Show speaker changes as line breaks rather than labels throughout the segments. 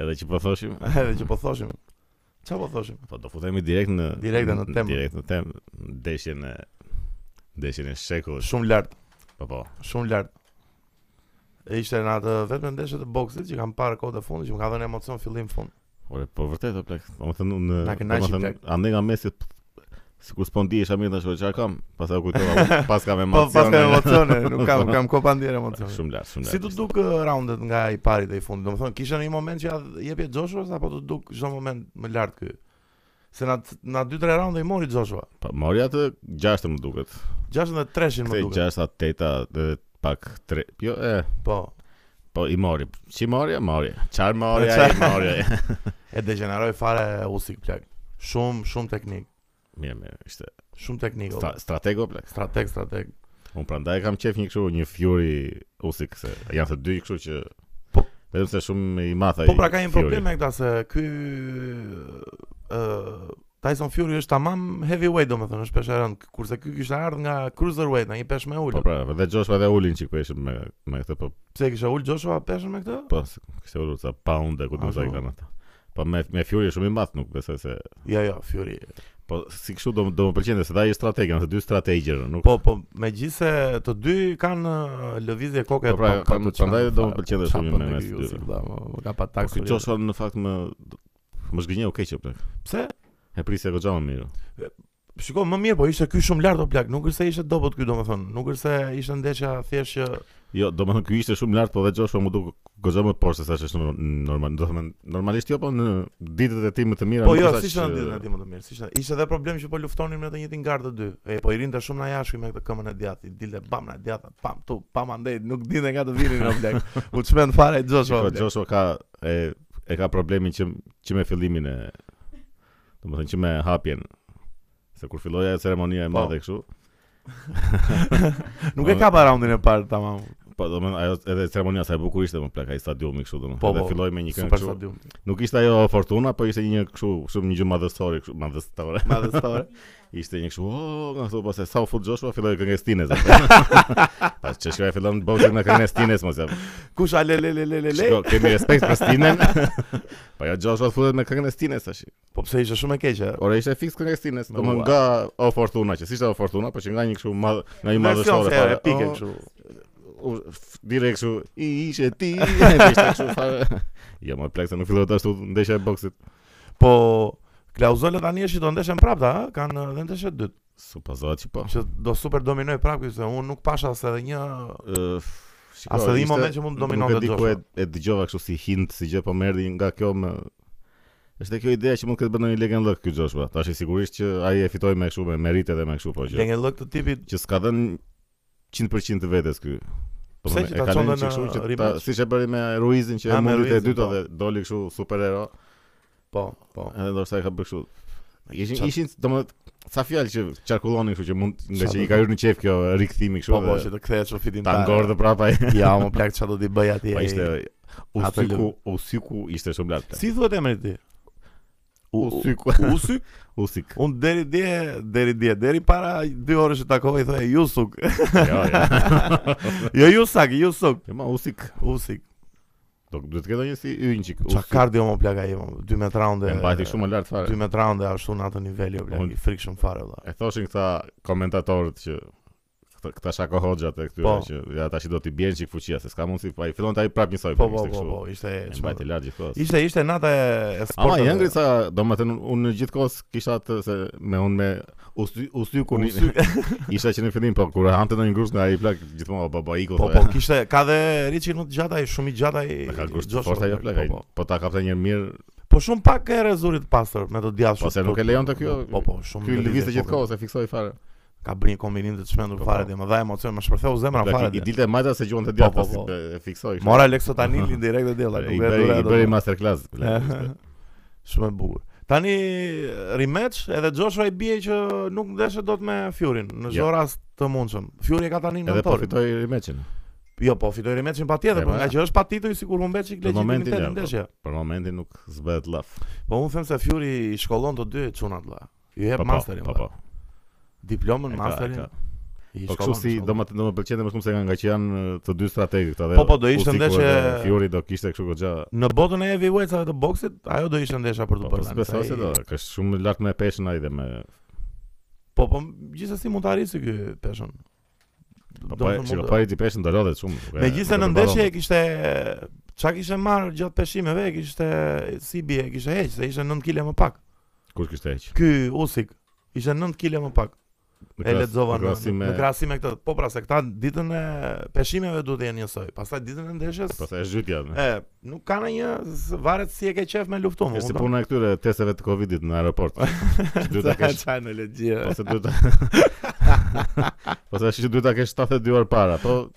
Edhe që po thoshim,
Edhe që po thoshim. Çfarë po thoshim?
po do futemi direkt në
Direkt në temë.
Direkt në temë, në ndeshjen e ndeshjen e shekut.
Shumë lart,
Po po.
shumë lart. E ishte në atë vetëm ndeshje të boksit që kam parë kohë të fundit që më ka dhënë emocion fillim fund.
Ore, po vërtet o plak. Po më thënë unë,
Na
po
kënaqi,
më thënë,
plak.
ande nga mesi p- sikur s'po ndihesh Amir tash o çfarë kam, pastaj u kujtova, pas kam
Po
emocione.
pas ka emocione, nuk kam kam kopa ndier emocione.
Shumë lart, shumë lart.
Si të duk uh, roundet nga i pari dhe i fundit? Domethënë kishte një moment që ja jepje Joshua's apo të duk çdo moment më lart ky? Se na na 2-3 raunde i mori Joshua.
Po mori atë 6 më duket.
63-shin më
Kthej
duket.
6 8 dhe pak 3. Jo, e,
Po.
po i mori. Si mori? e Mori. Çfarë mori?
Po,
Ai
çfarë-
mori.
E degeneroi fare Usyk plak. Shumë shumë teknik,
Mirë, mirë, ishte
shumë teknik.
stra
olla.
stratego plak.
Strateg, strateg.
Unë prandaj kam qef një kështu, një Fury Usyk se janë të dy kështu që
Po-
vetëm se shumë i madh ai.
Po pra ka një
Fury.
problem me këta se ky ë Tyson Fury është tamam heavyweight domethënë, është peshë e rënd, kurse ky kishte ardhur nga cruiserweight, nga një peshë me
Po
ul.
pra, dhe Joshua dhe ulin çik po ishim me me këtë po
Pse e kisha ul Joshua peshën me këtë?
po se kishte ulur ca pound ku do
Ashtu.
të kanë ata. Po me me Fury është shumë i madh, nuk besoj se
Jo, jo, Fury.
po si kështu do do më pëlqente se ai është strateg, janë të dy strategjë, nuk
Po, po, megjithse të dy kanë ë, lëvizje koke.
Po pra,
pa- pa
kam-
të çfarë
prandaj
të
do më
fare,
pëlqente
po,
shumë
çfarë
me
bën
mes
ky
dyve.
Usyk, da, mo, Ka pa
Po
taksë.
ky Joshua në fakt më më zgjënjeu keq apo.
pse?
E prisja goxha më mirë.
Shiko, më mirë, po ishte ky shumë lart o plak, nuk është se ishte dobët ky domethënë, nuk është se ishte ndeshja thjesht që
Jo, do më thënë ky ishte shumë lart, po dhe Joshua më duk goxha më poshtë se sa është nor- normal. Do të thënë normalisht jo, po në ditët e tij më të mira.
Po
nuk
jo,
është
si
aq-
ishte në ditën e tij më të mirë. Si ishte ishte edhe problem që po luftonin me të njëjtin gardë të dy. E po i rinte shumë na jashtë me këtë këmën e djathtë, i dilte bam na djathtë, pam tu, pam andej, nuk dinte nga të vinin në blek. U çmend fare Joshua.
Shiko,
blek.
Joshua ka e e ka problemin që që me fillimin e do më thënë që me hapjen. Se kur filloi ajo ceremonia e
Po.
madhe kështu,
Nuk e ka pa raundin e parë tamam.
po do më thënë ajo edhe ceremonia sa e bukur ishte më plak ai stadiumi kështu domethënë.
Po,
edhe
po,
filloi me një këngë
Super
kështu.
stadium.
Nuk ishte ajo fortuna, po ishte një kështu, shumë një gjë madhësore kështu, madhësore.
Madhëstore.
Ishte një kështu, oh, nga thua, pastaj sa u fut Joshua filloi kënga e Stines. Pas që shkoi fillon boxing me këngën e Stines mos e.
Kush a le le le le le le.
Shiko, kemi respekt për Stinen. po ja Joshua futet me këngën e Stines tash.
Po pse ishte shumë e keqe.
Ora ishte fiks kënga e Stines, do më
Ua.
nga O Fortuna, që s'ishte O Păi, Fortuna, po që nga një kështu madh, nga një
Version
madhështore
se
fare.
epike
"Oh,
kështu.
u- Oh, f- Direkt kështu, i ishe ti, ishte kështu fare. Jo, më plak se nuk filloi ashtu ndeshja e boksit.
Po Klauzola tani është që do ndeshën prapë, ta, ë? kanë edhe ndeshje dytë.
Supozohet që po.
Që do super dominoj prapë ky, se unë nuk pasha se edhe një
Ë, shiko,
As edhe një
ishte-
moment që mund të dominonte
Nuk e di ku e, e dëgjova kështu si hint, si gjë, po më erdhi nga kjo më është kjo ideja që mund këtë bënë një legend lëk ky Joshua. Tash i sigurisht që ai e fitoi me kështu me merite dhe me kështu po që
Lenge lëk të tipit
që s'ka dhënë 100% të vetes ky. Po
Pse
më-
që
e
ta
ka
çonte
lënë kështu
në
që ta-
rematch?
siç e bëri me Ruizin që
Ah,
e
me
mundi e
Ruizin,
dyta
po.
dhe doli kështu superhero,
Po, po.
edhe ndoshta e ka bërë kështu. Ishin
Qa-
ishin domethënë sa fjalë që qarkullonin kështu që mund nga
Qa
që
do
i ka hyrë në qef kjo rikthimi kështu.
Po po,
dhe
që të kthehesh ofitin
Ta ngordë prapa ai.
Ja, më plak çfarë do t'i bëj atje.
Po ishte
atë
Usyku,
lëvë.
Usyku ishte shumë lart.
Si thuhet emri i tij?
Usyku,
Usyk.
Usyk.
Un deri dje, deri dje, deri para 2 orësh që takova i thoya Jusuk.
Jo, jo.
jo Jusak, Jusuk.
Jo, ma Usyk.
Usyk.
Do duhet të ketë një si ynë çik.
Ça
Usyk.
kardio më plak ai, 2 metra raunde.
E mbajti shumë lart fare.
2 metra raunde ashtu në atë nivel jo plak,
Unë-
i frikshëm fare valla.
E thoshin këta komentatorët që këta, këta shako hoxha të këtyre
Po.
që ja tash i do t'i bjen çik fuqia se s'ka mundsi. Po ai fillon të ai prap njësoj.
Po
pra,
po
ishte
po
kështu.
po, ishte
E mbajti lart gjithkohës.
Ishte ishte nata e, e
Ama
sporteve.
i ngri sa, do më thënë, unë në gjithë kohës kisha të se me unë me usy, usy kur
Usyk.
isha që në fillim, po kur e hante në një grus nga i plak, gjithmonë, po, po, iku,
Po
thë,
po, kishte ka dhe Riçi në të gjata, shumë i gjata i.
Dhe ka gusht
Joshua,
forta jo plak. ai-
po, po.
Po ta kapte një mirë,
Po shumë pak e rezurit pastër me të djashtë.
Po, se nuk e lejonte kjo.
Po po, shumë.
ky lëvizte
lëvizje
gjithkohë se fiksoi fare.
Ka bërë një kombinim të çmendur
Po,
fare
po.
dhe më dha emocion, më shpërtheu zemra
Plak,
fare.
i- I
dhe.
dilte majta se gjuan të djathtë,
Po, po,
po,
po.
e fiksoi. kështu.
Mora Alexotanili direkt e della,
I
nuk e
bëri
dura.
i
ato.
bëri masterclass. plak, ishte.
Shumë e bukur. Tani rematch edhe Joshua i bie që nuk ndeshe dot me Furin në çdo
Jo.
rast të mundshëm. Fury e ka tani në
Edhe po
nëntor.
fitoi rematchin.
Jo, po fitoi rematchin patjetër,
E,
por
ma,
nga
ja.
që është pa titull sikur humbet çik
Në momentin
legitimitet
ja,
në
po.
ndeshje.
Për momentin nuk zbëhet llaf.
Po unë them se Fury i shkollon të dy çunat vlla. Ju
Po
jep
po,
masterin.
po
vlla.
po.
Diplomën
E ka, e
masterin.
ka.
I
Po kështu
shkollon,
si
shkollon.
do më do më pëlqente më shumë se nga nga që janë e, të dy strategë këta dhe.
Po, po, do ishte
Ustiku
ndeshje-
edhe Fury do kishte kështu goxha.
Në botën e heavyweight-save të boksit, ajo do ishte ndesha për
Po,
të
po,
bërë. tani,
s'besoj
se
se
ai-
do, ka shumë lart me peshën ai dhe me
Po, po, gjithsesi mund të arrisë ky peshën.
Po po,
Do të thonë
çka
mund të-
po ai di peshën do lodhet shumë. nuk e-
Megjithëse
nuk
në
e
ndeshje e
përballon.
kishte çka kishte marr gjatë peshimeve, e kishte Sibi e kishte heq, se ishte 9 kg më pak.
kush kishte heq.
Ky Usik ishte 9 kg më pak.
Në
e
kras- në
lexova në
krahasim me
në krahasim me këtë. Po pra se këta ditën e peshimeve duhet të jenë njësoj. Pastaj ditën e ndeshjes
Po, Pastaj është zhytja. ne.
e po, nuk ka ndonjë s- varet si e ke qef me luftum.
Është si puna e këtyre testeve të Covidit në aeroport. Që Duhet ta kesh Po,
çaj në logji.
Ose duhet ta Ose është që duhet ta kesh 72 orë para, po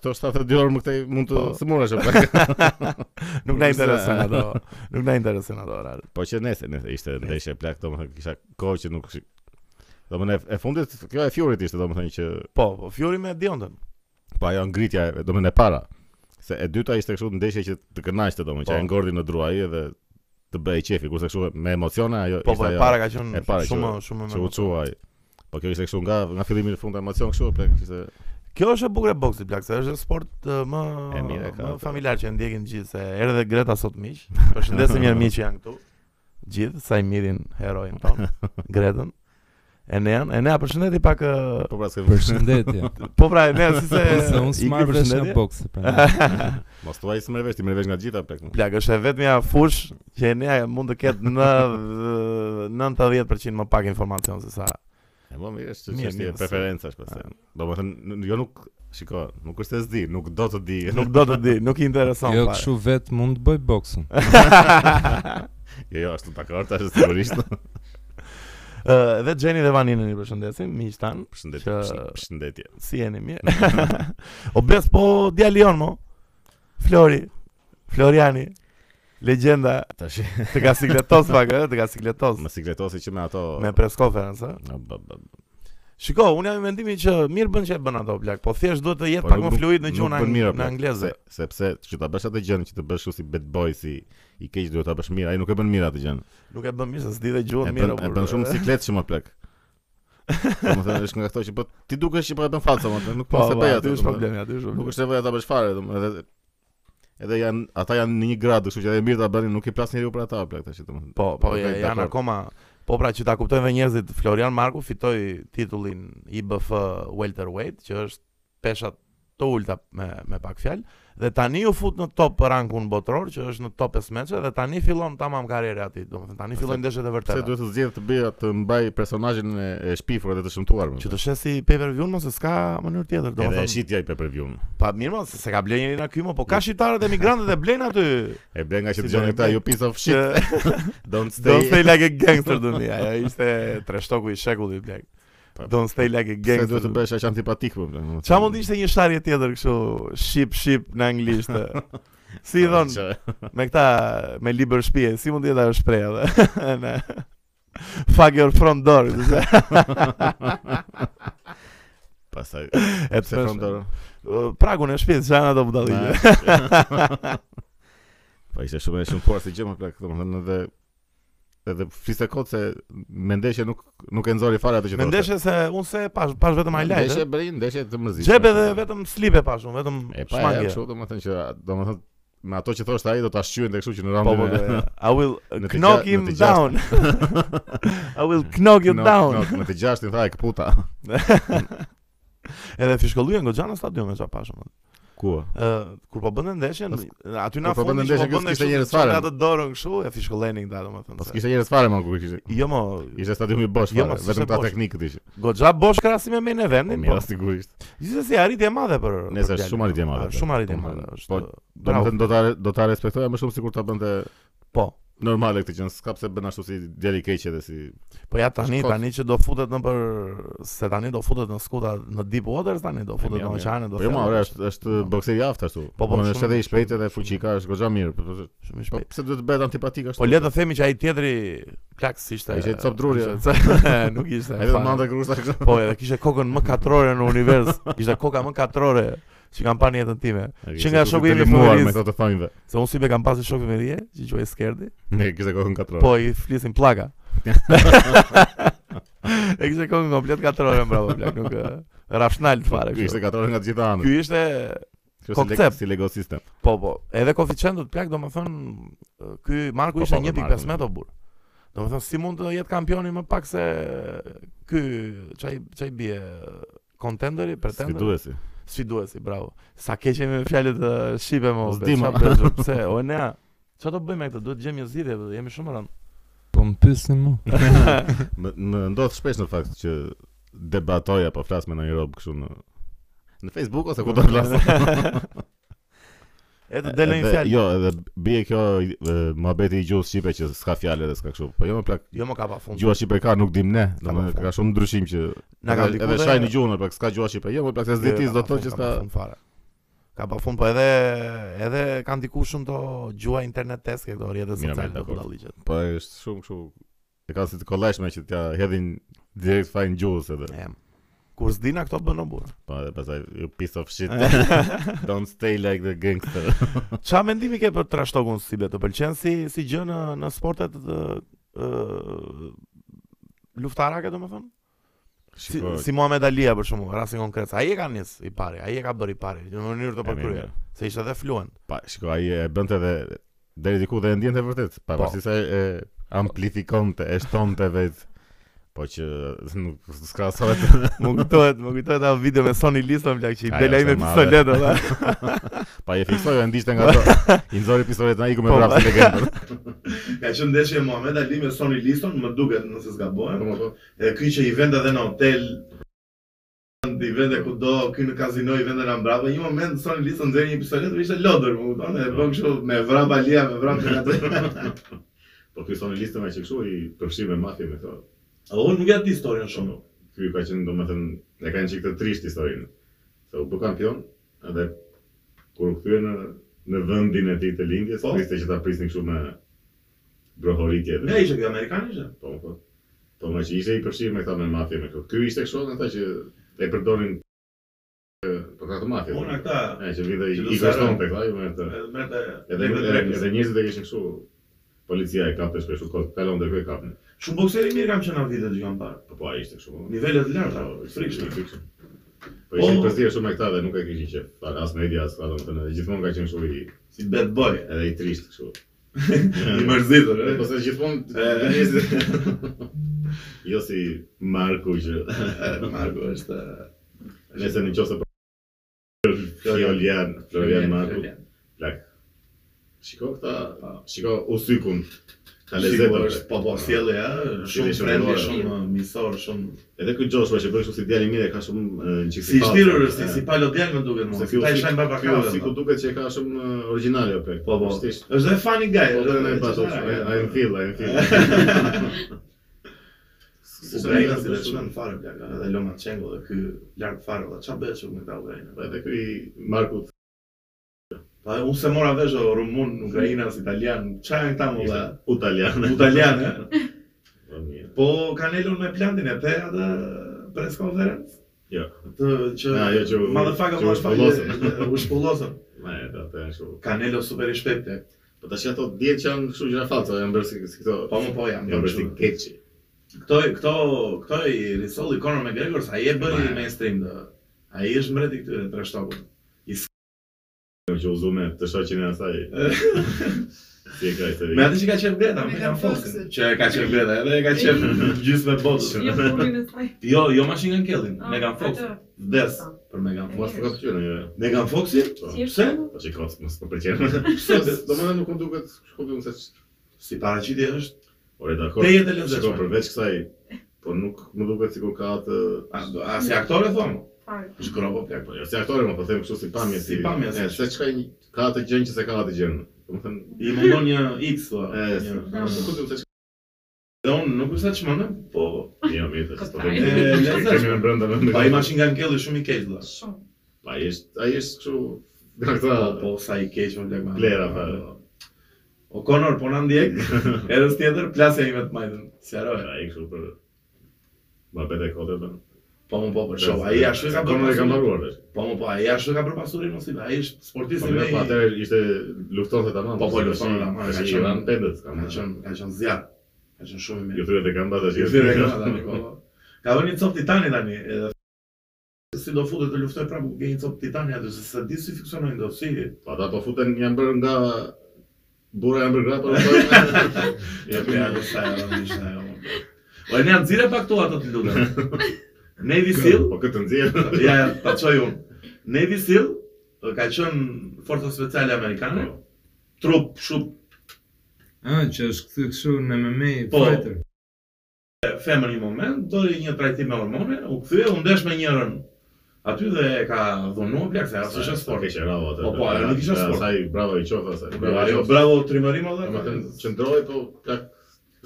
këto 72 orë më këtej mund të
Po.
smuresh apo.
Nuk na
Ose-
intereson ato. Nuk na intereson ato oraret.
Po që nesër, nesër ishte ndeshje e plak, domethënë kisha kohë që nuk shi- Domethënë e- e fundit kjo e Fiorit ishte domethënë që
Po, po Fiori me Diontën.
po ajo ngritja e- domethënë e para. Se e dyta ishte kështu ndeshje që të kënaqte domethënë që
Po.
e ngordi në druaj edhe të bëj qefi, kurse kështu me emocione ajo
Po, po e
ajo
para ka
e
qenë
para
shumë
që-
shumë
që
më-
u çuaj. Po kjo ishte kështu nga nga fillimi në fund emocion kështu plak ishte
Kjo është e bukur e boksit plak, se është sport ë, më
E mirë e ka,
më
po.
familjar që e ndjekin gjithë, se erdhi dhe Greta sot miq. Përshëndesim mirë miq që janë këtu. Gjithë sa i mirin heroin ton, Gretën. Enean, Enea përshëndeti pak ë,
po pra se
Përshëndetje.
Po pra Enea si se
Se unë
i
s'marr
ke
vesh
përshëndetje?
nga boksi pra.
mos tuaj s'më vesh, ti më vesh nga gjitha plak.
Plak, është e vetmja fush që Enea mund të ketë në 90% më pak informacion se sa.
E po mirë është
Mirë,
që është
mirë,
preferencash pastaj. Domethënë n- jo nuk shiko, nuk është se s'di, nuk do të di.
Nuk do të di, nuk i intereson
Jo,
fare.
kështu vet mund të bëj boksun.
Jo, jo, është dakord, tash sigurisht.
Ë, dhe Jenny dhe Vaninën i përshëndesim, miq tan.
Përshëndetje.
Që-
përshë- Përshëndetje.
Si jeni mirë? o bes po djali jon mo. Flori, Floriani, legjenda
Tash
të ka sikletos pak, ë, të ka sikletos
më sikletosi që me po. ato
me press conference.
A,
ë.
ba, ba, ba.
Shiko, unë jam i mendimin që mirë bën që e bën ato plak, po thjesht duhet të jetë
Po,
pak
nuk-
më fluid në
nuk bën
gjuhën ang-
mirë,
në
plak,
angleze.
se- sepse që ta bësh atë gjën që të bësh kështu si bad boy si i keq duhet ta bësh mirë, ai nuk e bën mirë atë gjën.
Nuk e bën mirë se s'di dhe
E
gjuhën
bën
Po, mirë.
e
por-
bën shumë siklet që më plak. Domethënë është nga ato që po ti dukesh që po e bën falso, domethënë nuk
Po,
mos e
po,
bëj
aty
atë.
është
domethënë.
problemi, aty është
Nuk
problemi.
është nevoja ta bësh fare, domethënë edhe edhe janë ata janë në një gradë, kështu që edhe mirë ta bënin, nuk i plas njeriu për ata plak tash domethënë.
Po, po,
Okej,
ja-
dakor.
janë akoma Po pra që ta kuptojnë dhe njerëzit, Florian Marku fitoi titullin IBF welterweight, që është peshat të ulta me me pak fjalë, dhe tani u fut në top rankun botror, që është në top 15 dhe tani fillon tamam karriera e tij, domethënë tani
Pse-
fillojnë ndeshjet e
Pse
vërteta.
duhet të zgjedh të bëj të mbaj personazhin e, e shpifur edhe të shëmtuar.
Që të shes si pay-per-view mos se s'ka mënyrë tjetër,
Edhe e
domethënë.
shitja i pe preview.
Pa mirë, mos se ka blen njëri na ky, mo, po ka shqiptarët emigrantët e blejnë aty.
E blen nga që
Si
dëgjoni
do e
këta
blen?
you piece of shit.
Që
Don't
don't
stay.
stay like a gangster do me. Ajo ishte treshtoku i shekullit blek.
Pa-
Don't stay like
Se
a gangster.
duhet të bësh aq antipatik po. domethënë.
Qa mund ishte një shtarje tjetër kështu Shqip, shqip në anglisht e? Si i thonë,
Që-
me këta Me liber shpije, si mund jetë ajo shpreja dhe Në- Fuck your front door kështu se.
Pastaj.
E të
Se
thësh,
frontor.
"Uh, Pragun e shpjes, qa janë ato budalliqe
Po ishte shumë e shumë fortë si gjë më plak, domethënë edhe edhe fliste kot se me ndeshje nuk nuk e nxori fare atë që
Me
thoshte.
ndeshe se unë se pash, pash vetëm
Ndeshje
highlight
bëri, ndeshje të mërzitshme.
Gjep edhe vetëm slipe pash unë, vetëm
E pa ja
shmangje
kështu domethënë që domethënë me ato që thoshte ai do ta shqyën kështu që në
Po, po,
raundin. e-
po, I will
Në të
knock
gja-
him
në të
down I will knock you
Knock,
down
knock, Në të gjashtin tha e kputa.
Edhe fishkolluja nga gjanë në stadion me qa pashëm
Ku?
Ë, kur po bënte ndeshjen,
Pas-
aty na
kur po
fundi
bënte
që
ndeshjen,
po
kjo
bënte
s'kishte
kështu,
njerëz fare.
çka të dorën kështu, e fishkollenin këta domethënë.
Po
se-
s'kishte njerëz fare më ku kishte.
Jo mo,
Ishte stadiumi bosh
Jo,
fare,
mos ishte
vetëm ta
bosh.
teknikë ti.
goxha bosh krahasim me main eventin, po.
Mira sigurisht.
Gjithsesi arritje e madhe për për
Nëse është
djalin.
shumë arritje e madhe,
Ë, Shumë arritje e madhe,
domethënë,
është.
po, Do
bravo.
të do ta do ta respektoja më shumë sikur ta bënte
Po.
normale këtë që në skap se bën ashtu si djali keq edhe si
Po ja tani
Shkot.
tani që do futet në për se tani do futet në skuta në deep waters tani do futet
mirë,
në
mirë.
oqeane do.
Po jo, ma,
fjalë,
ore, është është bokser i aftë ashtu.
Po, po,
Domethënë,
shumë-
është edhe i shpejtë edhe
shumë-
fuqika, është goxha mirë. Po po,
Shumë i
po,
shpejt.
pse duhet të bëhet antipatik ashtu?
Po le të themi që ai tjetri plak si ishte.
Ai ishte cop druri,
ishte- Nuk ishte.
Edhe
fare.
mande grushta kështu.
Po, edhe kishte kokën më katrore në univers. Ishte koka më katrore që kam parë në jetën time. Që nga shoku jemi
muar
fëmijëris.
me këto të thonjve.
Se unë si be kam pasur shokë me rije, që quaj skerdi,
po
Ne kishte kokën katror.
po i flisin plaka.
E kishte kokën komplet katrore mbrapa plak, nuk ë, rafshnal të fare.
Ishte
kështu.
katrore nga të gjitha anët.
Ky ishte
Kështu si
koncept.
leg- si Lego system.
po po, edhe koeficientut plak domethën ky Marku
Po,
ishte
po, dhe
1.15
Marku.
o burr. Domethën si mund të jetë kampioni më pak se ky çaj çaj bie contenderi,
Si
pretenderi.
duhet si.
Sfiduesi, bravo. Sa keq jemi me fjalët e shipe më.
S'di, ma.
Pse o ne? Çfarë do bëjmë me këtë? Duhet gjejmë një zgjidhje, vëllai, jemi shumë rënd.
Po më pyesni mu.
Më më ndodh shpesh në fakt që debatoj apo flas me ndonjë rob kështu në në Facebook ose ku do flas.
E të delë një
Edhe-
fjalë.
Jo, edhe bie kjo e, muhabeti i gjuhës shqipe që s'ka fjalë dhe s'ka kështu. Po jo më plak.
Jo më ka pa fund.
Gjuha shqipe ka nuk dim ne.
Ka
Domethënë
pa
ka shumë ndryshim që
Po, Na ka
edhe-
ndiku
edhe
dhe-
shajni gjuhën, plak s'ka gjuha shqipe. Jo më plak se
Jo,
s'ditis
ka pa
do të thotë
fund, ka
që s'ka
pa fund fare. Ka pa fund, po edhe edhe ka ndiku shumë to gjuha internet test këto rrjetet
Mirë,
sociale
mirë,
do
dakord.
budalliqet.
po është shumë kështu. E kanë si të kollajshme që t'ja hedhin direkt fajin gjuhës edhe.
Em. Kur s'dina këto bën o burr.
Po edhe pastaj you piece of shit. Don't stay like the gangster.
Ç'a mendimi ke për trashtogun si be të pëlqen si si gjë në në sportet ë ë, luftarake domethënë? Si,
Shiko,
si Muhammed Alia për shkakun, rastin konkret. Ai e ka nis i pari, ai e ka bërë i pari në mënyrë të
e mirë,
përkryer,
mirë.
se ishte edhe fluent.
Pa, shiko, ai e bënte dhe deri diku dhe e ndjente vërtet, pavarësisht se e amplifikonte, e shtonte vetë. Po që nuk skrasohet.
Më kujtohet, më kujtohet atë video me Sony Liston plak që i
Ajo
del ai
është
me
e madhe.
pistolet atë.
pa e fiksoi, e ndiqte nga ato. I nxori pistoletin ai ku me
Po,
vrapë legendën.
Ka qenë ndeshje e Muhamet Ali me Sonny Liston, më duket nëse
Po,
zgabohem. E ky që i vend edhe në hotel, i vende kudo, ky në kazino i vende në mbrapa. Një moment Sonny Liston nxjerr një pistolet, ishte lodër, më kupton? E bën kështu me vrap Alia, me vrap Alia.
Po ky sonë listë më që kështu i përfshin me mafi me këto.
O, unë nuk ja di historinë shumë.
Ky ka qenë domethënë e kanë çik të trisht historinë. Se u bë kampion edhe kur u kthye në në vendin e tij të lindjes,
Po.
ishte që ta prisnin kështu me brohoritje. dhe-
Nga ishte ky amerikan ishte?
Po, po. Po, më që ishte i përshirë me këta me mafje me këto. Ky ishte kështu, në ta që e përdorin e, për këta të mafje.
Unë këta
E, që vinte i,
Që
i
lusarën.
kështon të këta, i me të...
e, merrte
Edhe,
merrte
edhe,
drejtës.
edhe njerëzit e kishin kështu, policia e kapte shpesh kështu kod, kalon dhe ky e kapën.
Shumë bokseri mirë kam qenë atë vitet që kam parë.
Po, po, ai ishte kështu.
Nivele të larta,
frikshme,
frikshme.
frikshme. Po, ishte
Po.
i përzirë shumë me këta dhe nuk e kishin qef. Pa, as media, as këta, domethënë, edhe gjithmonë ka qenë kështu i
Si bad boy,
edhe i trisht kështu.
i mërzitur.
Edhe
e.
pastaj gjithmonë
E.
njerëzit jo si Marku që
Marko është
Nëse në qoftë se Florian, Florian Marku. Shiko këta, shiko u sykun. Ka lezet
Sigur është, po po sjellja, ja, shumë
Shumë
friendly,
kolore.
shumë uh, miqësor, shumë
Edhe ky Joshua që bën kështu si djali i mirë ka shumë e, në çik
si i shtirur,
pasur.
si
E.
si palo djalë më duket
Se
mua.
ky
Ta i shajm baba
ky
kave.
siku duket që e ka shumë e, origjinale apo.
Po, po.
Vërtet.
Është dhe funny guy.
Po do të na pasoj. Ai
po.
në fill, ai në fill.
Ukraina si të shmën fare plaka, edhe Lomachenko dhe ky larg fare, dhe ç'a bëhet shumë me ta
Po
Ukraina.
edhe ky Marku
Pa unë se mora vesh o rumun, ukrainas, italian, ç'a janë këta më valla?
ishte italian.
Italian. e?
Po, mirë.
Po kanë elur me plantin e the atë press conference.
Jo.
Të që
Ah, jo, që u-
motherfucker
që u
u shpëllosën.
shpëllosën.
U shpëllosën.
Ma e ta të kështu.
Canelo super i eh? shpejtë.
Po tash ato dihet që janë kështu gjëra faca, janë bërë si si këto.
Po më po jam.
janë bërë si keqi.
Këto këto këto i risolli Conor McGregor sa ai e bëri
Ma.
mainstream do. Ai është mbreti këtyre trashtokut.
Kam që uzume të shoqin e asaj. Si e ka i
Me atë që ka qenë Greta, me kanë fosin, që e ka qenë Greta, edhe e ka qenë gjysmë e botës.
Jo punin e saj.
Jo, jo Machine Gun Kelly,
Ah,
Megan Fox.
atë.
Vdes për Megan Fox.
Mos të kapë qënë, jo.
Megan Foxi?
Si
Pse?
është?
Po që kocë, mos të përqenë.
Pse?
Do më dhe nuk më duket, shkupim se që...
Si paraqitje është?
Ore, dakor.
Te jetë e lezeshme.
Shiko, përveç kësaj, po nuk më duket sikur ka atë...
A, do- a si aktore thonë?
Fare.
Është grobo plak.
Po, jo, si aktore, më po them kështu si pamje,
Si pamje,
e,
si-
se çka i ka atë gjën që se ka atë gjën. Domethënë,
I mundon një X thua.
e, s-
një-
nuk e kuptoj se çka.
Dhe unë nuk është që mëndëm, po...
Jo, mirë, tash po
Kotaj.
them.
E, lezeshme.
Kemi më brenda mend.
Pa i Machine Gun Kelly shumë i keq, dhe.
Shumë.
Pa, ai është, ai është kështu nga këta
Po, po, sa i keq më plak. ma.
Vlera, pa.
O Conor, po na ndjek, edhe s'tjetër, plasja ime të majtën, si aroja.
ai kështu për Ma bete kote bën.
Po, më po, për shoh, ai ashtu e ka
Konor e ka
përpasurin.
mbaruar tash.
Po, më po, ai ashtu e ka përpasurin, mos i bë, ai është
Po
sportisti
mirë,
me
po
i...
atëherë ishte luftonte tamam.
Po, po, luftonte tamam,
Tash
ka
i
qenë-
ran pendet, kam
Ka qenë, ka qenë zjarë, ka qenë shumë i
Ju
mirë.
jo, thyet e kanë bërë tash.
Ju thyrë e ka, da, po. Ka vënë një cop Titani tani, edhe si do futet të luftoj prapë me një cop Titani atë se sa di si fiksionojnë do si.
Po ata po futen janë bërë nga burra po. janë bërë grapa.
Ja po ja do sa do ishte ajo. O Po, e ne nxirë pak tu ato të lutem. Navy Seal,
Po këtë nxjerr.
ja ja, ta çoj unë. Navy Seal ë, ka qenë forca speciale amerikane. Trup shumë
Ah, që është këthy këshu në MMA
Po.
fighter.
femër një moment, doli një trajtim me hormone, u kthye, u ndesh me njërën aty dhe e ka dhunuar plak se ajo është sport.
Keq e ravo atë.
Po, po, ajo nuk ishte sport.
Sa i bravo i qof asaj.
Bravo, ajo, bravo trimërim
Do
edhe.
të thënë qëndroi po plak.